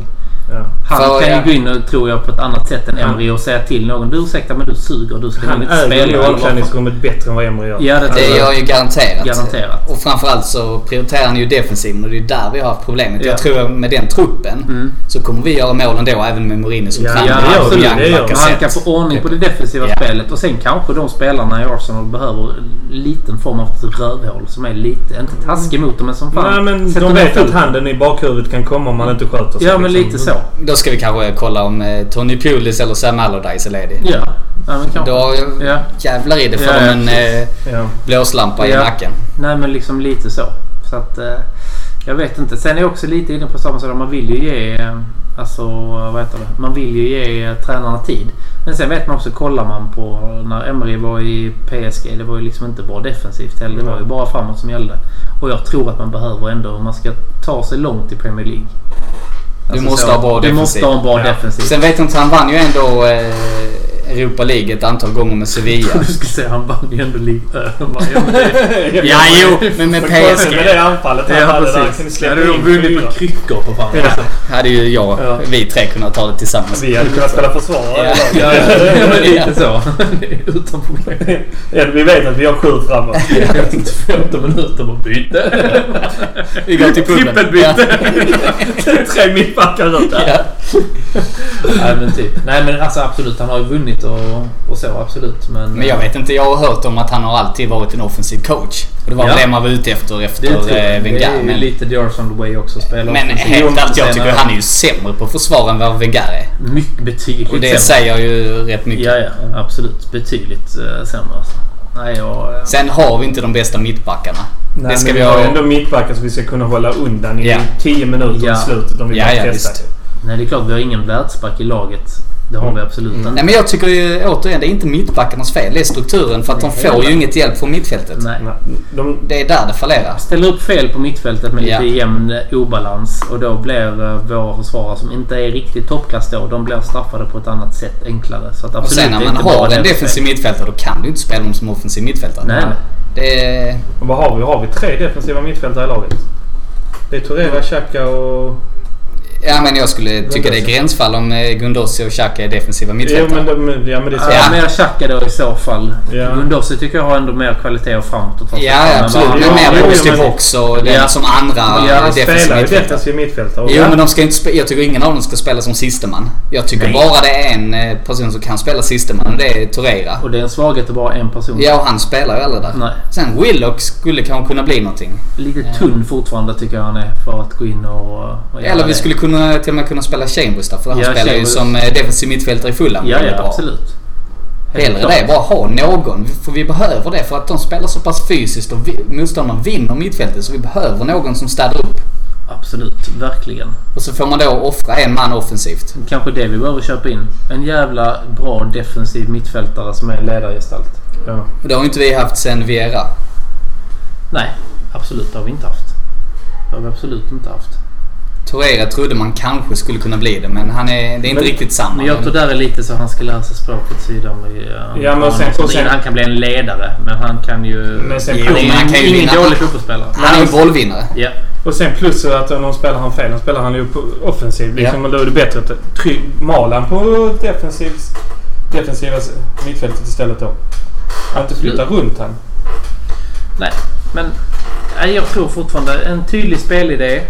[SPEAKER 3] Ja.
[SPEAKER 2] Han
[SPEAKER 4] För,
[SPEAKER 2] kan ju
[SPEAKER 4] ja.
[SPEAKER 2] gå in och, tror jag på ett annat sätt än
[SPEAKER 3] Han-
[SPEAKER 2] Emery och säga till någon. Du ursäkta men du suger. Du ska
[SPEAKER 3] Han
[SPEAKER 2] nog inte spela.
[SPEAKER 3] äger
[SPEAKER 2] eller
[SPEAKER 3] ju
[SPEAKER 2] vad-
[SPEAKER 3] omklädningsrummet bättre än vad Emery gör.
[SPEAKER 2] Ja, det
[SPEAKER 4] Det
[SPEAKER 2] tror
[SPEAKER 4] gör ju garanterat.
[SPEAKER 2] Alltså, Garanterat.
[SPEAKER 4] Och framförallt så prioriterar han ju defensiven och det är där vi har haft problemet.
[SPEAKER 2] Ja.
[SPEAKER 4] Jag tror att med den truppen
[SPEAKER 2] Mm.
[SPEAKER 4] så kommer vi göra mål ändå även med Mourinho som
[SPEAKER 3] Ja,
[SPEAKER 4] tränare.
[SPEAKER 2] ja,
[SPEAKER 4] och
[SPEAKER 2] absolut,
[SPEAKER 4] Young
[SPEAKER 3] det gör
[SPEAKER 4] backar
[SPEAKER 3] han.
[SPEAKER 2] Man
[SPEAKER 4] set.
[SPEAKER 2] kan få ordning på det defensiva
[SPEAKER 4] Ja.
[SPEAKER 2] spelet och sen kanske de spelarna i Arsenal behöver en liten form av rövhål som är lite, inte taskig mot dem men som fan
[SPEAKER 3] Nej, men
[SPEAKER 2] sätter
[SPEAKER 3] de
[SPEAKER 2] ner
[SPEAKER 3] vet att
[SPEAKER 2] foten.
[SPEAKER 3] handen i bakhuvudet kan komma om man inte sköter sig.
[SPEAKER 2] Ja men
[SPEAKER 3] liksom.
[SPEAKER 2] lite så.
[SPEAKER 4] Då ska vi kanske kolla om eh, Tony Pulis eller Sam Allardyce är ledig.
[SPEAKER 2] Ja. ja men kanske.
[SPEAKER 4] Då
[SPEAKER 2] Ja.
[SPEAKER 4] jävlar i det får
[SPEAKER 2] Ja,
[SPEAKER 4] de
[SPEAKER 2] ja,
[SPEAKER 4] en eh,
[SPEAKER 3] Ja.
[SPEAKER 4] blåslampa i
[SPEAKER 2] Ja.
[SPEAKER 4] nacken.
[SPEAKER 2] Nej men liksom lite så. Så att eh, jag vet inte. Sen är jag också lite inne på samma sak. Man vill ju ge eh, alltså eh, vad heter det? Man vill ju ge eh, tränarna tid. Men sen vet man också, kollar man på när Emery var i PSG. Det var ju liksom inte bara defensivt heller. Det var ju bara framåt som gällde. Och jag tror att man behöver ändå, om man ska ta sig långt i Premier League.
[SPEAKER 4] Du måste ha bra
[SPEAKER 2] Alltså, Du
[SPEAKER 4] defensiv.
[SPEAKER 2] måste ha en bra
[SPEAKER 3] Ja.
[SPEAKER 2] defensiv.
[SPEAKER 4] Sen vet jag inte, han vann ju ändå eh, Europa League ett antal gånger med Sevilla.
[SPEAKER 2] Du skulle säga han vann ju ändå ligan.
[SPEAKER 4] ja, jo, men med
[SPEAKER 3] PSG. Med
[SPEAKER 4] PSG
[SPEAKER 3] det anfallet han
[SPEAKER 2] Ja
[SPEAKER 3] hade där. Kan ni
[SPEAKER 2] precis.
[SPEAKER 3] släppa
[SPEAKER 2] Hade de
[SPEAKER 3] in
[SPEAKER 2] vunnit
[SPEAKER 3] fyra?
[SPEAKER 2] med kryckor för fan.
[SPEAKER 3] Ja.
[SPEAKER 4] hade ju jag,
[SPEAKER 3] Ja.
[SPEAKER 4] vi tre kunnat ta det tillsammans.
[SPEAKER 3] Vi hade kunnat spela försvarare. eller?
[SPEAKER 4] Ja.
[SPEAKER 2] Ja, ja, men lite så. Utan problem.
[SPEAKER 3] Ja, vi vet att vi har sju framåt.
[SPEAKER 2] 15 minuter på byte.
[SPEAKER 4] Vi går till puben.
[SPEAKER 2] Trippelbyte.
[SPEAKER 3] Tre mittbackar ut
[SPEAKER 4] Ja.
[SPEAKER 3] där.
[SPEAKER 4] Ja.
[SPEAKER 2] Nej men typ. Nej men alltså absolut, han har ju vunnit och, och så absolut. Men,
[SPEAKER 4] Men jag vet inte, jag har hört om att han har alltid varit en offensiv coach. Och det var
[SPEAKER 2] Ja.
[SPEAKER 4] väl det man var ute efter
[SPEAKER 2] det
[SPEAKER 4] efter
[SPEAKER 2] är, typ,
[SPEAKER 4] eh,
[SPEAKER 2] det
[SPEAKER 4] Wenger.
[SPEAKER 2] är ju
[SPEAKER 4] Men,
[SPEAKER 2] lite The Arsenal Way också att spela
[SPEAKER 4] men
[SPEAKER 2] offensivt.
[SPEAKER 4] helt ärligt, jag tycker
[SPEAKER 2] Sen
[SPEAKER 4] han är ju sämre på försvar än vad Wenger är.
[SPEAKER 2] Mycket betydligt
[SPEAKER 4] Och det
[SPEAKER 2] sämre.
[SPEAKER 4] säger ju rätt mycket.
[SPEAKER 2] Ja, ja. Absolut. Betydligt eh, sämre alltså. Nej, jag... eh,
[SPEAKER 4] Sen har vi inte de bästa mittbackarna.
[SPEAKER 3] Nej,
[SPEAKER 4] det ska
[SPEAKER 3] men
[SPEAKER 4] vi
[SPEAKER 3] vi har
[SPEAKER 4] ha.
[SPEAKER 3] ändå mittbackar som vi ska kunna hålla undan i
[SPEAKER 4] Ja.
[SPEAKER 3] 10 minuter
[SPEAKER 2] Ja.
[SPEAKER 3] i slutet om vi
[SPEAKER 4] Ja,
[SPEAKER 3] bara
[SPEAKER 4] ja,
[SPEAKER 3] testar.
[SPEAKER 4] visst.
[SPEAKER 2] Nej, det är klart vi har ingen världsback i laget. Det har vi absolut inte.
[SPEAKER 4] Nej men jag tycker ju återigen, det är inte mittbackarnas fel. Det är strukturen för att de
[SPEAKER 2] Nej,
[SPEAKER 4] får
[SPEAKER 2] ja.
[SPEAKER 4] ju inget hjälp från mittfältet.
[SPEAKER 2] Nej.
[SPEAKER 3] Nej, de,
[SPEAKER 4] Det är där det fallerar.
[SPEAKER 2] Ställer upp fel på mittfältet med lite
[SPEAKER 4] Ja.
[SPEAKER 2] jämn eh, obalans och då blir eh, våra försvarare som inte är riktigt toppklass då, de blir straffade på ett annat sätt enklare. Så att absolut,
[SPEAKER 4] Och sen när
[SPEAKER 2] det är
[SPEAKER 4] man
[SPEAKER 2] inte bara
[SPEAKER 4] har en
[SPEAKER 2] deras
[SPEAKER 4] defensiv
[SPEAKER 2] fel.
[SPEAKER 4] mittfältare då kan du inte spela dem som offensiv mittfältare.
[SPEAKER 2] Nej, nej.
[SPEAKER 4] Det är...
[SPEAKER 3] och vad har vi? Har vi tre defensiva mittfältare i laget? Det är
[SPEAKER 4] Mm.
[SPEAKER 3] Torreira, Xhaka och...
[SPEAKER 4] Ja men jag skulle tycka det är
[SPEAKER 3] Gundossi.
[SPEAKER 4] gränsfall om eh, Gundossi och Xhaka är defensiva
[SPEAKER 3] Jo, men,
[SPEAKER 4] mittfältare.
[SPEAKER 3] de, ja, men det är så.
[SPEAKER 2] Ja. Mer Xhaka då i så fall.
[SPEAKER 3] Ja.
[SPEAKER 2] Gundossi tycker jag har ändå mer kvalitet och framåt. att ta sig
[SPEAKER 4] Ja,
[SPEAKER 2] fram
[SPEAKER 4] ja
[SPEAKER 2] än
[SPEAKER 4] absolut.
[SPEAKER 2] vad han
[SPEAKER 4] Men
[SPEAKER 3] Ja,
[SPEAKER 2] har.
[SPEAKER 3] jo,
[SPEAKER 4] mer positiv
[SPEAKER 3] men-
[SPEAKER 4] också den
[SPEAKER 2] Ja.
[SPEAKER 4] som andra
[SPEAKER 3] Ja,
[SPEAKER 4] eh,
[SPEAKER 3] han
[SPEAKER 4] defensiv
[SPEAKER 3] spelar ju
[SPEAKER 4] mittfältare.
[SPEAKER 3] defensiv mittfältare. och-
[SPEAKER 4] Jo men de ska inte spe- jag tycker ingen av dem ska spela som sisteman. Jag tycker
[SPEAKER 2] Nej.
[SPEAKER 4] bara det är en eh, person som kan spela sisteman och det är Torreira.
[SPEAKER 2] Och det är en svaghet att bara en person.
[SPEAKER 4] Ja och han spelar ju aldrig där.
[SPEAKER 2] Nej.
[SPEAKER 4] Sen Willock skulle kanske kunna bli någonting.
[SPEAKER 2] Lite tunn fortfarande tycker jag han är för att gå in och... och göra
[SPEAKER 4] Eller vi
[SPEAKER 2] det.
[SPEAKER 4] skulle kunna, till och med kunna spela Chambers där för han
[SPEAKER 2] Ja,
[SPEAKER 4] spelar
[SPEAKER 2] Chambers.
[SPEAKER 4] ju som eh, defensiv mittfältare i Fulham.
[SPEAKER 2] Ja,
[SPEAKER 4] väldigt
[SPEAKER 2] ja absolut. Helt
[SPEAKER 4] Hellre
[SPEAKER 2] klart.
[SPEAKER 4] det, bara ha någon. För vi behöver det för att de spelar så pass fysiskt och vi, motståndaren vinner mittfältet så vi behöver någon som städar upp.
[SPEAKER 2] Absolut, verkligen.
[SPEAKER 4] Och så får man då offra en man offensivt.
[SPEAKER 2] Kanske det vi behöver köpa in. En jävla bra defensiv mittfältare som är en ledargestalt.
[SPEAKER 3] Ja.
[SPEAKER 4] Och det har ju inte vi haft sen Viera.
[SPEAKER 2] Nej, absolut det har vi inte haft. Det har vi absolut inte haft.
[SPEAKER 4] Torreira trodde man kanske skulle kunna bli det men han är, det är inte
[SPEAKER 3] Men-
[SPEAKER 4] riktigt samma.
[SPEAKER 2] Men jag tror där är lite så han ska lära sig språket sydamerikanskt.
[SPEAKER 3] Ja, men sen- och sen-
[SPEAKER 2] eh, Han kan bli en ledare, men han kan ju...
[SPEAKER 3] Men sen-
[SPEAKER 2] han
[SPEAKER 4] Jo, men han kan
[SPEAKER 2] är
[SPEAKER 4] ju
[SPEAKER 2] ingen
[SPEAKER 4] vinna.
[SPEAKER 2] dålig fotbollsspelare.
[SPEAKER 4] han är ju bollvinnare.
[SPEAKER 2] Ja,
[SPEAKER 3] Och sen plus att om de spelar han fel, då spelar han ju på- offensiv. Liksom,
[SPEAKER 4] Ja.
[SPEAKER 3] Och då är det bättre att try- mala han på defensiv, defensiva mittfältet istället då. Att inte flytta runt han.
[SPEAKER 2] nej. Men nej, jag tror fortfarande en tydlig spelidé.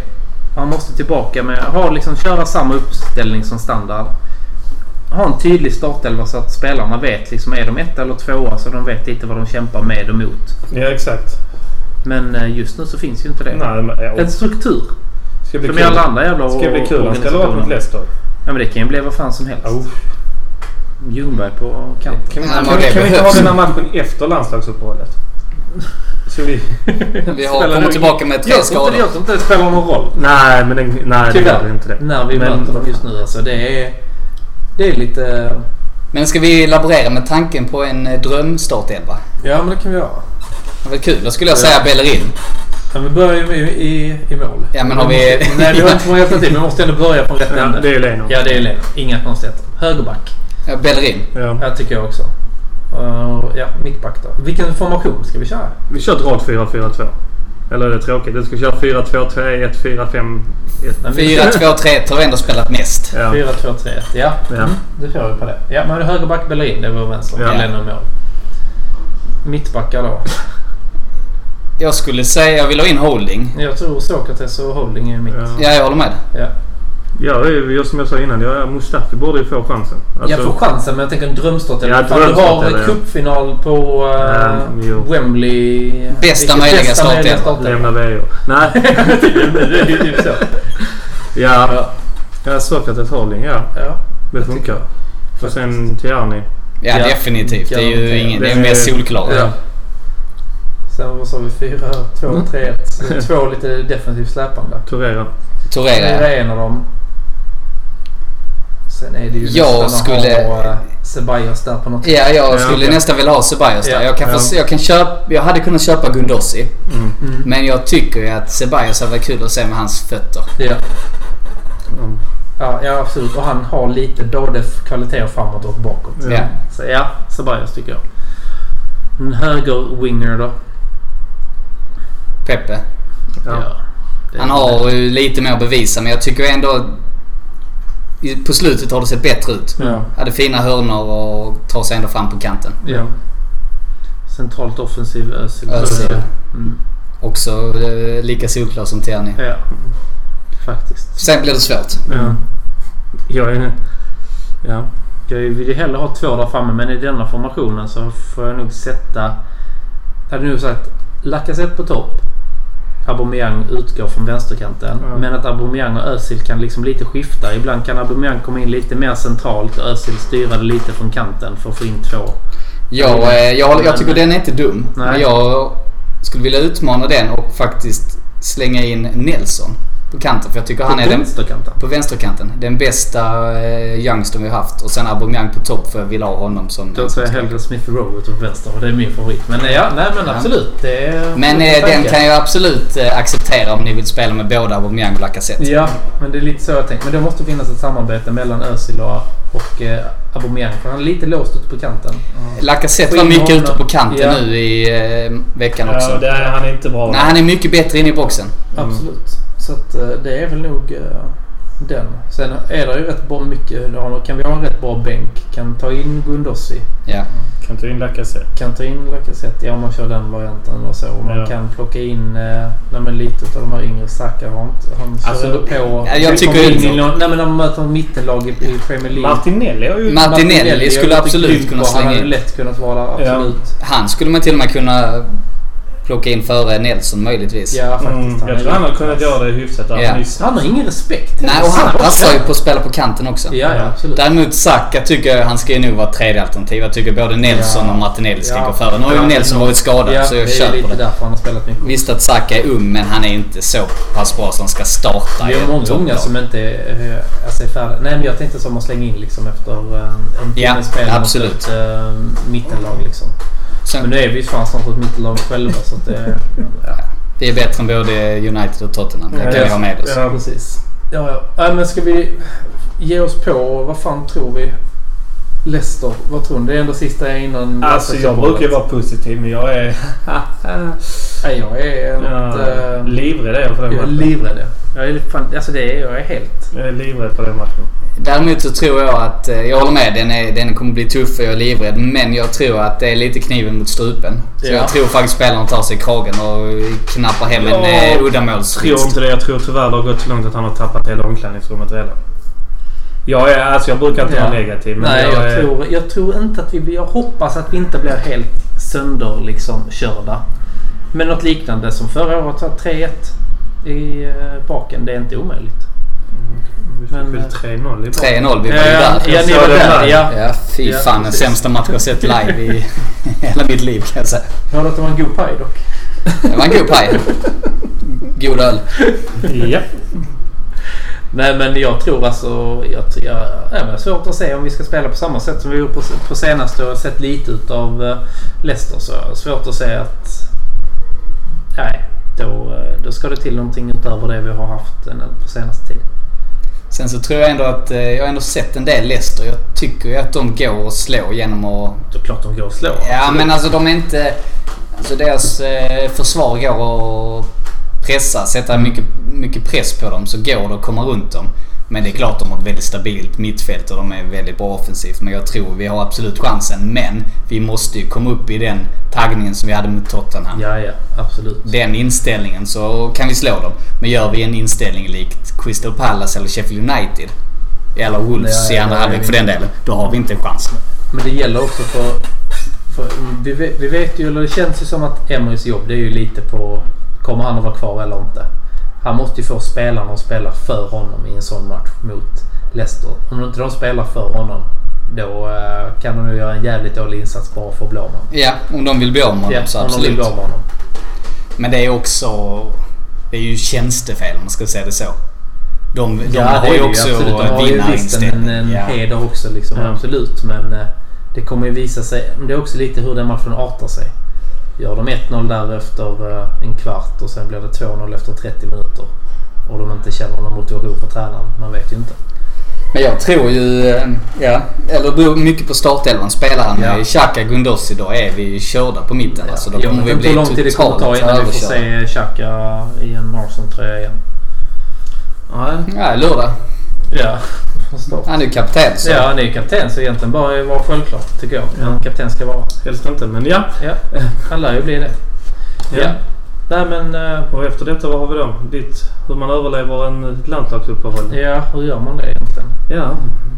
[SPEAKER 2] Han måste tillbaka med ha liksom köra samma uppställning som standard. Ha en tydlig startelva så att spelarna vet liksom är de ett eller tvåa så de vet lite vad de kämpar med och mot.
[SPEAKER 3] Ja, exakt.
[SPEAKER 2] Men eh, just nu så finns ju inte det.
[SPEAKER 3] Nej, men, ja,
[SPEAKER 2] En struktur.
[SPEAKER 3] ska bli
[SPEAKER 2] Som i
[SPEAKER 3] kul.
[SPEAKER 2] alla andra jävla
[SPEAKER 3] Ska bli kul. Han ställer upp mot
[SPEAKER 2] organisationer.
[SPEAKER 3] Leicester.
[SPEAKER 2] Ja men det kan ju bli vad fan som helst.
[SPEAKER 3] Oh.
[SPEAKER 2] Ljungberg på kanten.
[SPEAKER 3] Kan vi,
[SPEAKER 4] Ja,
[SPEAKER 3] kan,
[SPEAKER 4] men
[SPEAKER 3] vi,
[SPEAKER 4] det
[SPEAKER 3] kan vi inte ha
[SPEAKER 4] behövs.
[SPEAKER 3] den här matchen efter landslagsuppehållet? Så vi...
[SPEAKER 4] Vi har
[SPEAKER 3] Spelar
[SPEAKER 4] kommit
[SPEAKER 3] du-
[SPEAKER 4] tillbaka med tre
[SPEAKER 2] Jag tror inte,
[SPEAKER 4] skador.
[SPEAKER 2] jag tror inte det spelar någon roll.
[SPEAKER 3] Nej, men den, nej, det gör
[SPEAKER 2] Tyvärr.
[SPEAKER 3] vi inte det.
[SPEAKER 2] När vi
[SPEAKER 3] Men-
[SPEAKER 2] möter dem just nu alltså. Det är, det är lite...
[SPEAKER 4] Men ska vi laborera med tanken på en eh, drömstartelva?
[SPEAKER 5] Ja, men det kan vi göra.
[SPEAKER 4] Det var kul. Då skulle jag säga Bellerin.
[SPEAKER 5] Men vi börjar ju med, i, i mål.
[SPEAKER 4] Ja men har vi...
[SPEAKER 2] Nej, vi har inte många alternativ. men Vi måste ändå börja från rätt
[SPEAKER 3] Ja,
[SPEAKER 2] ände.
[SPEAKER 3] det är ju Leno.
[SPEAKER 2] Ja, det är Leno. Inga konstigheter. Högerback.
[SPEAKER 4] Ja, Bellerin.
[SPEAKER 3] Ja.
[SPEAKER 2] Ja, tycker jag också. Och, ja, mittback då. Vilken formation ska vi köra?
[SPEAKER 3] Vi kör ett rad 4-4-2. Eller är det tråkigt? Du ska köra 4-2-3, 1-4-5...
[SPEAKER 2] Nej, vi-
[SPEAKER 4] 4-2-3 har ändå spelat mest.
[SPEAKER 3] Ja.
[SPEAKER 2] 4-2-3-1. Ja,
[SPEAKER 3] Ja.
[SPEAKER 2] Mm, det får vi på det. Ja, men högerback Bellerin, det var vänster.
[SPEAKER 3] Ja.
[SPEAKER 2] Ja. Leno i mål. Mittbackar då.
[SPEAKER 4] Jag skulle säga, jag vill ha in holding.
[SPEAKER 2] Jag tror Sokrates och Holding är mitt.
[SPEAKER 3] Ja.
[SPEAKER 4] Ja, jag håller med.
[SPEAKER 2] Ja.
[SPEAKER 3] Ja, det är ju som jag sa innan. Ja, Mustafi borde ju få chansen. Alltså,
[SPEAKER 2] jag får chansen, men jag tänker en drömstart.
[SPEAKER 3] Ja,
[SPEAKER 2] Ja, du
[SPEAKER 3] drömstart,
[SPEAKER 2] har
[SPEAKER 3] eller?
[SPEAKER 2] cupfinal på eh,
[SPEAKER 3] Ja, jo.
[SPEAKER 2] Wembley. Vilket
[SPEAKER 4] möjliga startelva.
[SPEAKER 2] startelva.
[SPEAKER 3] Lämna VO. Nej.
[SPEAKER 2] Det är ju typ så.
[SPEAKER 3] ja.
[SPEAKER 2] Ja.
[SPEAKER 3] ja, Sokrates Holding. Ja,
[SPEAKER 2] Ja.
[SPEAKER 3] det funkar. Och sen Tierney.
[SPEAKER 4] Ja,
[SPEAKER 2] Ja,
[SPEAKER 4] definitivt. Det är ju
[SPEAKER 2] garanterat.
[SPEAKER 4] ingen, det är
[SPEAKER 3] Det är-
[SPEAKER 4] mer solklart.
[SPEAKER 2] Ja. Sen vad sa vi? 4,
[SPEAKER 4] Mm.
[SPEAKER 2] 2, 3, 1. Två lite defensivt släpande.
[SPEAKER 3] Torera.
[SPEAKER 2] Det
[SPEAKER 4] Torreira.
[SPEAKER 2] är en av dem. Sen är det ju
[SPEAKER 4] Jag
[SPEAKER 2] nästan att
[SPEAKER 4] skulle-
[SPEAKER 2] ha eh, Ceballos där på något sätt.
[SPEAKER 4] Ja, jag skulle
[SPEAKER 3] okej.
[SPEAKER 4] nästan vilja ha Ceballos där.
[SPEAKER 2] Ja,
[SPEAKER 4] Jag, kan
[SPEAKER 3] ja.
[SPEAKER 4] få, jag, kan köpa, jag hade kunnat köpa Gundossi.
[SPEAKER 3] Mm.
[SPEAKER 4] Men jag tycker ju att Ceballos hade varit kul att se med hans fötter.
[SPEAKER 2] Ja.
[SPEAKER 3] Mm.
[SPEAKER 2] Ja, ja, absolut. Och han har lite både kvaliteter framåt och bakåt.
[SPEAKER 3] Ja.
[SPEAKER 4] Ja.
[SPEAKER 2] Så ja, Ceballos tycker jag. En höger-winger då.
[SPEAKER 4] Pepe.
[SPEAKER 3] Ja.
[SPEAKER 2] Det är-
[SPEAKER 4] Han har ju lite mer att bevisa men jag tycker ändå... i- På slutet har det sett bättre ut.
[SPEAKER 2] Ja.
[SPEAKER 4] Hade fina hörnor och tar sig ändå fram på kanten.
[SPEAKER 2] ja. Centralt offensiv Özil.
[SPEAKER 4] Özil.
[SPEAKER 2] Mm.
[SPEAKER 4] Också eh, lika solklar som Tierney.
[SPEAKER 2] Ja, faktiskt.
[SPEAKER 4] Sen blir det svårt.
[SPEAKER 3] Ja. Jag är... Ja.
[SPEAKER 2] Jag vill ju hellre ha två där framme men i denna formationen så får jag nog sätta... Jag hade nog sagt Lacazette på topp. Aubameyang utgår från vänsterkanten.
[SPEAKER 3] Ja.
[SPEAKER 2] Men att Aubameyang och Özil kan liksom lite skifta. Ibland kan Aubameyang komma in lite mer centralt och Özil styra det lite från kanten för att få in två
[SPEAKER 4] Jag, eh, jag, jag tycker den är inte dum.
[SPEAKER 2] Mm. Nej.
[SPEAKER 4] Men jag skulle vilja utmana den och faktiskt slänga in Nelson på kanten. För jag tycker han är den...
[SPEAKER 2] vänsterkanten.
[SPEAKER 4] På vänsterkanten. Den bästa eh, youngstern vi har haft. Och sen Aubameyang på topp för jag vill ha honom som...
[SPEAKER 2] Då säger jag hellre Smith Rowe åt vänster för det är min favorit. Men eh, ja, nej men
[SPEAKER 4] Ja.
[SPEAKER 2] absolut. Det är
[SPEAKER 4] Men eh, den kan jag absolut eh, acceptera om ni vill spela med båda Aubameyang och Lacazette.
[SPEAKER 2] Ja, men det är lite så jag tänker. Men det måste finnas ett samarbete mellan Özil och, och eh, Aubameyang. För han är lite låst ute på kanten.
[SPEAKER 4] Lacazette var
[SPEAKER 2] Få in
[SPEAKER 4] mycket
[SPEAKER 2] honom.
[SPEAKER 4] ute på kanten
[SPEAKER 2] Ja.
[SPEAKER 4] nu i eh, veckan också. Mm.
[SPEAKER 3] Ja, det är han inte bra.
[SPEAKER 4] Nej, han är mycket bättre inne i boxen.
[SPEAKER 2] Absolut. Så att eh, det är väl nog eh, den. Sen är det ju rätt bra mycket. eh, Kan vi ha en rätt bra bänk? Kan ta in Gundossi.
[SPEAKER 4] Ja.
[SPEAKER 3] Kan inte in Lacazette.
[SPEAKER 2] Kan ta in Lacazette, ja om man kör den varianten och så. Och man
[SPEAKER 3] Ja.
[SPEAKER 2] kan plocka in eh, nej, men lite av de här yngre Saka har inte... Han kör
[SPEAKER 3] Alltså,
[SPEAKER 2] ändå på...
[SPEAKER 4] Ja, jag tycker
[SPEAKER 2] in
[SPEAKER 4] inte-
[SPEAKER 2] i någon, nej men när man möter ett mittenlag i, i Premier League.
[SPEAKER 3] Martinelli har
[SPEAKER 2] Mm.
[SPEAKER 3] ju...
[SPEAKER 4] Martinelli
[SPEAKER 2] jag
[SPEAKER 4] skulle
[SPEAKER 2] tycker
[SPEAKER 4] absolut
[SPEAKER 2] grym på,
[SPEAKER 4] kunna slänga
[SPEAKER 2] Han hade
[SPEAKER 4] in.
[SPEAKER 2] lätt kunnat vara där,
[SPEAKER 3] Ja.
[SPEAKER 2] absolut.
[SPEAKER 4] Han skulle man till och med kunna plocka in före Nelson möjligtvis.
[SPEAKER 2] Ja, faktiskt.
[SPEAKER 3] Mm, jag
[SPEAKER 2] är
[SPEAKER 3] tror han hade
[SPEAKER 2] jättebra.
[SPEAKER 3] kunnat göra det hyfsat. där.
[SPEAKER 4] Ja.
[SPEAKER 3] Han är ju snabb.
[SPEAKER 2] Han har ingen respekt.
[SPEAKER 4] Nej, och han passar ju på att spela på kanten också.
[SPEAKER 2] Ja, ja, absolut.
[SPEAKER 4] Däremot Saka tycker jag, han ska ju nog vara tredje alternativ. Jag tycker både Nelson
[SPEAKER 2] Ja.
[SPEAKER 4] och Martinelli ska
[SPEAKER 2] Ja.
[SPEAKER 4] gå före. Nu har ju
[SPEAKER 2] Ja,
[SPEAKER 4] Nelson
[SPEAKER 2] det-
[SPEAKER 4] varit skadad
[SPEAKER 2] ja,
[SPEAKER 4] så jag
[SPEAKER 2] det är
[SPEAKER 4] köper
[SPEAKER 2] lite
[SPEAKER 4] det.
[SPEAKER 2] därför han har spelat mycket.
[SPEAKER 4] Visst att Saka är ung men han är inte så pass bra som ska starta
[SPEAKER 2] Det
[SPEAKER 4] i
[SPEAKER 2] är
[SPEAKER 4] ett
[SPEAKER 2] många
[SPEAKER 4] topplag.
[SPEAKER 2] unga som inte är, alltså är färdiga. Nej, men jag tänkte som att slänga in liksom efter eh, en
[SPEAKER 4] Ja,
[SPEAKER 2] timmes spel
[SPEAKER 4] absolut.
[SPEAKER 2] mot ett äh, mittenlag. Liksom.
[SPEAKER 4] Sen-
[SPEAKER 2] Men nu är vi ju fan snart ett mittenlag själva så att det... Ja,
[SPEAKER 4] Det är bättre än både United och Tottenham. Det
[SPEAKER 2] Ja,
[SPEAKER 4] kan vi
[SPEAKER 2] ja.
[SPEAKER 4] ha med oss.
[SPEAKER 3] Ja.
[SPEAKER 2] precis. Ja, ja. Äh, men ska vi ge oss på, vad fan tror vi? Leicester, vad tror ni? Det är ändå sista innan...
[SPEAKER 3] Alltså jag brukar ju vara positiv men jag är...
[SPEAKER 2] Nej, jag är något...
[SPEAKER 3] Ja,
[SPEAKER 2] eh,
[SPEAKER 3] livrädd är jag för den
[SPEAKER 2] jag är
[SPEAKER 3] matchen.
[SPEAKER 2] livrädd. Jag är fan, alltså det är jag är helt...
[SPEAKER 3] Jag är livrädd för den matchen.
[SPEAKER 4] Däremot så tror jag att, eh, jag håller med, den, är, den kommer bli tuff och jag är livrädd. Men jag tror att det är lite kniven mot strupen. Så
[SPEAKER 2] Ja.
[SPEAKER 4] jag tror faktiskt spelarna tar sig i kragen och knappar hem en
[SPEAKER 3] Ja.
[SPEAKER 4] eh,
[SPEAKER 3] Jag tror
[SPEAKER 4] uddamålsvinst.
[SPEAKER 3] inte det. Jag tror tyvärr det har gått så långt att han har tappat hela omklädningsrummet redan. Jag, är, alltså, jag brukar inte
[SPEAKER 2] Ja.
[SPEAKER 3] vara negativ men
[SPEAKER 2] Nej,
[SPEAKER 3] jag,
[SPEAKER 2] jag,
[SPEAKER 3] är,
[SPEAKER 2] tror, jag tror inte att vi blir... Jag hoppas att vi inte blir helt sönder liksom körda. Men något liknande som förra året, så här 3-1 i eh, baken. Det är inte omöjligt.
[SPEAKER 3] Vi fick
[SPEAKER 2] Men, eh,
[SPEAKER 3] väl 3-0 i
[SPEAKER 4] 3-0, vi var
[SPEAKER 2] ja,
[SPEAKER 4] ju där.
[SPEAKER 2] ja, ni
[SPEAKER 3] Jag
[SPEAKER 2] var
[SPEAKER 3] såg det
[SPEAKER 2] där.
[SPEAKER 3] där.
[SPEAKER 2] Ja.
[SPEAKER 4] Ja, fy
[SPEAKER 2] Ja,
[SPEAKER 4] fan. Den
[SPEAKER 2] precis.
[SPEAKER 4] sämsta match jag sett live i hela mitt liv kan jag säga.
[SPEAKER 2] Jag hörde att det var en god paj dock.
[SPEAKER 4] Det var en god paj. God öl.
[SPEAKER 3] Ja.
[SPEAKER 2] Nej, men jag tror alltså... Jag, tror- jag, nej, men det är svårt att säga om vi ska spela på samma sätt som vi gjorde på, på senaste och sett lite utav eh, Leicester. Så är det svårt att säga att... Nej, då, eh, då ska det till någonting utöver det vi har haft eh, på senaste tiden.
[SPEAKER 4] Sen så tror jag ändå att, eh, jag har ändå sett en del Leicester. Jag tycker ju att de går och slår genom att
[SPEAKER 2] Då klart de går och slår.
[SPEAKER 4] Ja, men alltså de är inte... Alltså deras eh, försvar går att pressa, sätta mycket, mycket press på dem, så går det att komma runt dem. Men det är klart de har ett väldigt stabilt mittfält och de är väldigt bra offensivt. Men jag tror vi har absolut chansen. Men vi måste ju komma upp i den taggningen som vi hade mot Tottenham.
[SPEAKER 2] Ja, ja, absolut.
[SPEAKER 4] Den inställningen så kan vi slå dem. Men gör vi en inställning likt Crystal Palace eller Sheffield United. Eller Wolves
[SPEAKER 2] Ja,
[SPEAKER 4] i
[SPEAKER 2] ja,
[SPEAKER 4] andra
[SPEAKER 2] ja,
[SPEAKER 4] halvlek
[SPEAKER 2] ja.
[SPEAKER 4] för den delen. Då har vi inte en chans.
[SPEAKER 2] Men det gäller också för... för vi, vet, vi vet ju, eller det känns ju som att Emerys jobb det är ju lite på... Kommer han att vara kvar eller inte? Han måste ju få spelarna att spela för honom i en sån match mot Leicester. Om inte de spelar för honom då eh, kan de ju göra en jävligt dålig insats bara för att bli av med honom.
[SPEAKER 4] Ja, om de vill bli av med honom
[SPEAKER 2] Ja,
[SPEAKER 4] så
[SPEAKER 2] om de vill
[SPEAKER 4] absolut.
[SPEAKER 2] bli av med honom.
[SPEAKER 4] Men det är också... Det är ju tjänstefel om man ska säga det så. De, de
[SPEAKER 2] det
[SPEAKER 4] har
[SPEAKER 2] är
[SPEAKER 4] ju
[SPEAKER 2] det
[SPEAKER 4] också
[SPEAKER 2] absolut. De har ju visst en,
[SPEAKER 4] vinnarinställning.
[SPEAKER 2] en
[SPEAKER 4] ja.
[SPEAKER 2] heder också liksom.
[SPEAKER 3] Ja.
[SPEAKER 2] Absolut. Men eh, det kommer ju visa sig. Men det är också lite hur den matchen artar sig. Gör de 1-0 där efter eh, en kvart och sen blir det 2-0 efter 30 minuter. Och de inte känner någon motivation för tränaren. Man vet ju inte.
[SPEAKER 4] Men jag tror ju... eh, Ja, eller det beror mycket på startelvan. Spelar han
[SPEAKER 2] Ja.
[SPEAKER 4] med Xhaka Gundossi då är vi ju körda på mitten. Alltså, då
[SPEAKER 2] Jag
[SPEAKER 4] kommer
[SPEAKER 2] vet
[SPEAKER 4] vi
[SPEAKER 2] inte
[SPEAKER 4] bli
[SPEAKER 2] hur lång tid det kommer
[SPEAKER 4] totalt
[SPEAKER 2] ta innan vi får
[SPEAKER 4] överkörda.
[SPEAKER 2] se Xhaka i en Arsenal-tröja igen.
[SPEAKER 3] Nej.
[SPEAKER 4] Ja, lördag.
[SPEAKER 2] Ja, förstår.
[SPEAKER 4] Han är ju kapten så.
[SPEAKER 2] Ja, han är ju kapten så egentligen bara vara självklart tycker jag.
[SPEAKER 3] Ja.
[SPEAKER 2] Ja. Kapten ska vara.
[SPEAKER 3] Helst inte men ja.
[SPEAKER 2] Ja, han lär ju bli det.
[SPEAKER 3] ja.
[SPEAKER 2] Ja. Nej men... eh,
[SPEAKER 3] Och efter detta vad har vi då? Ditt, hur man överlever en eh, landslagsuppehåll.
[SPEAKER 2] Ja, hur gör man det egentligen?
[SPEAKER 3] Ja.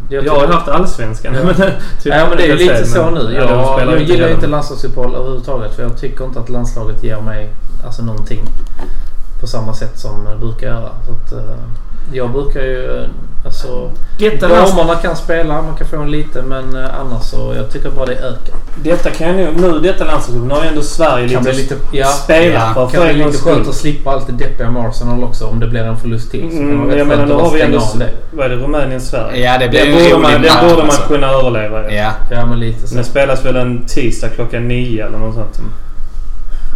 [SPEAKER 3] Jag, har ju haft allsvenskan.
[SPEAKER 2] Ja.
[SPEAKER 3] Men, typ,
[SPEAKER 2] Ja, men det är ju
[SPEAKER 3] jag
[SPEAKER 2] lite
[SPEAKER 3] säger,
[SPEAKER 2] så
[SPEAKER 3] men-
[SPEAKER 2] nu.
[SPEAKER 3] Ja,
[SPEAKER 2] Jag,
[SPEAKER 3] de spelar
[SPEAKER 2] jag gillar ju
[SPEAKER 3] redan.
[SPEAKER 2] inte landslagsuppehåll överhuvudtaget för jag tycker inte att landslaget ger mig alltså, någonting på samma sätt som det brukar göra. Så att, eh, Jag brukar ju... eh, Alltså,
[SPEAKER 3] Get an ass-
[SPEAKER 2] damerna kan spela, man kan få en liten, men eh, annars så... Jag tycker bara det ökar.
[SPEAKER 3] Detta kan ju... Nu detta landslagsgruppen nu har ju ändå Sverige
[SPEAKER 2] Kan
[SPEAKER 3] lite,
[SPEAKER 2] bli lite- ja.
[SPEAKER 3] spela
[SPEAKER 4] Ja,
[SPEAKER 3] för.
[SPEAKER 2] Kan
[SPEAKER 3] för
[SPEAKER 2] det
[SPEAKER 3] en
[SPEAKER 2] bli
[SPEAKER 3] gångs
[SPEAKER 2] lite
[SPEAKER 3] skull.
[SPEAKER 2] skönt att slippa allt det deppiga med Arsenal också om det blir en förlust till. Så kan man
[SPEAKER 3] Mm,
[SPEAKER 2] väl
[SPEAKER 3] jag
[SPEAKER 2] skönt
[SPEAKER 3] menar,
[SPEAKER 2] att
[SPEAKER 3] nu
[SPEAKER 2] bara
[SPEAKER 3] har vi
[SPEAKER 2] stänga
[SPEAKER 3] ändå...
[SPEAKER 2] av det.
[SPEAKER 3] Vad är det? Rumänien-Sverige?
[SPEAKER 4] Ja, det blir
[SPEAKER 3] det
[SPEAKER 4] en
[SPEAKER 3] borde
[SPEAKER 4] rolig
[SPEAKER 3] man, det
[SPEAKER 4] match,
[SPEAKER 3] borde man
[SPEAKER 4] alltså.
[SPEAKER 3] kunna överleva. Ja.
[SPEAKER 4] Ja.
[SPEAKER 2] Ja, men lite så.
[SPEAKER 3] Den spelas väl en tisdag klockan nio eller något sånt.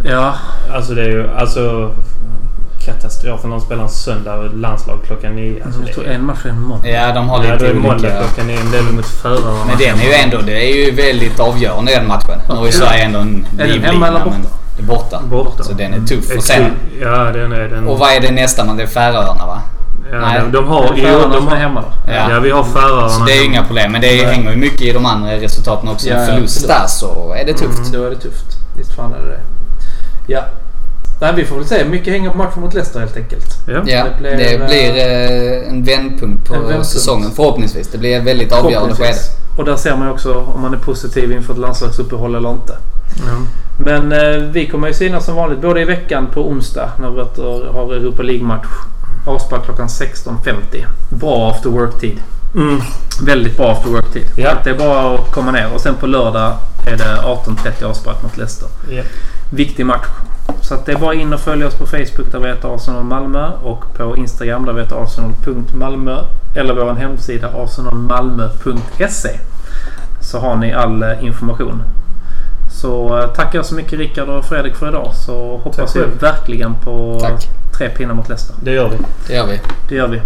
[SPEAKER 2] Ja,
[SPEAKER 3] Alltså det är ju... Alltså... Katastrof om de spelar en söndag och landslag klockan nio. Alltså
[SPEAKER 2] jag
[SPEAKER 3] det
[SPEAKER 2] tror
[SPEAKER 3] är,
[SPEAKER 2] en match är en måndag.
[SPEAKER 4] ja, de
[SPEAKER 3] ja,
[SPEAKER 4] har
[SPEAKER 3] då
[SPEAKER 4] lite
[SPEAKER 3] är det måndag
[SPEAKER 4] olika...
[SPEAKER 3] klockan nio. men Det är väl mot förarna.
[SPEAKER 4] Men den är ju ändå... Det är ju väldigt avgörande den matchen. Nu har ju Sverige ändå en
[SPEAKER 2] den
[SPEAKER 4] livlina,
[SPEAKER 2] hemma eller
[SPEAKER 4] men
[SPEAKER 2] borta?
[SPEAKER 4] det är borta.
[SPEAKER 3] Borta.
[SPEAKER 4] Så den är tuff. Och,
[SPEAKER 3] Exakt.
[SPEAKER 4] sen,
[SPEAKER 3] Ja, den är den.
[SPEAKER 4] och vad är det nästa man Det är Färöarna, va?
[SPEAKER 3] ja,
[SPEAKER 4] nej.
[SPEAKER 3] de, de har...
[SPEAKER 2] det är
[SPEAKER 3] Jo,
[SPEAKER 2] de
[SPEAKER 3] de
[SPEAKER 2] som är
[SPEAKER 3] har
[SPEAKER 2] hemma då.
[SPEAKER 3] ja.
[SPEAKER 4] Ja.
[SPEAKER 3] vi har Färöarna.
[SPEAKER 4] Så det är ju inga problem. Men det är, hänger ju mycket i de andra resultaten också.
[SPEAKER 2] Ja, ja,
[SPEAKER 4] Förlust
[SPEAKER 2] absolut.
[SPEAKER 4] där så är det tufft.
[SPEAKER 3] Mm.
[SPEAKER 2] Då är det tufft. Visst fan är det det. Ja. Nej, vi får väl se. Mycket hänger på matchen mot Leicester helt enkelt.
[SPEAKER 3] Ja.
[SPEAKER 4] Ja,
[SPEAKER 2] Det
[SPEAKER 4] det
[SPEAKER 2] blir,
[SPEAKER 4] blir, eh, en vändpunkt på
[SPEAKER 2] en vändpunkt.
[SPEAKER 4] säsongen förhoppningsvis. Det blir ett väldigt avgörande skede.
[SPEAKER 2] Förhoppningsvis. Och där ser man ju också om man är positiv inför ett landslagsuppehåll eller inte.
[SPEAKER 3] Ja.
[SPEAKER 2] Men eh, vi kommer ju synas som vanligt både i veckan på onsdag när vi åter har Europa League-match. Avspark klockan 16.50. Bra after work-tid.
[SPEAKER 3] Mm.
[SPEAKER 2] Väldigt bra after work-tid.
[SPEAKER 3] Ja.
[SPEAKER 2] Det är bara att komma ner. Och sen på lördag är det 18.30 avspark mot Leicester.
[SPEAKER 3] Ja.
[SPEAKER 2] Viktig match. Så att det är bara in och följa oss på Facebook där vi heter Arsenal Malmö och på Instagram där vi heter arsenal.malmö eller vår hemsida arsenalmalmö.se så har ni all eh, information. Så eh, tackar jag så mycket Rickard och Fredrik för idag så hoppas vi
[SPEAKER 3] själv.
[SPEAKER 2] verkligen på
[SPEAKER 4] Tack.
[SPEAKER 2] tre pinnar mot Leicester.
[SPEAKER 3] Det gör vi.
[SPEAKER 4] Det gör vi.
[SPEAKER 2] Det gör vi.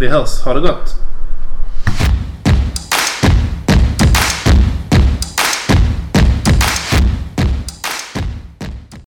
[SPEAKER 2] Vi hörs. Ha det gott!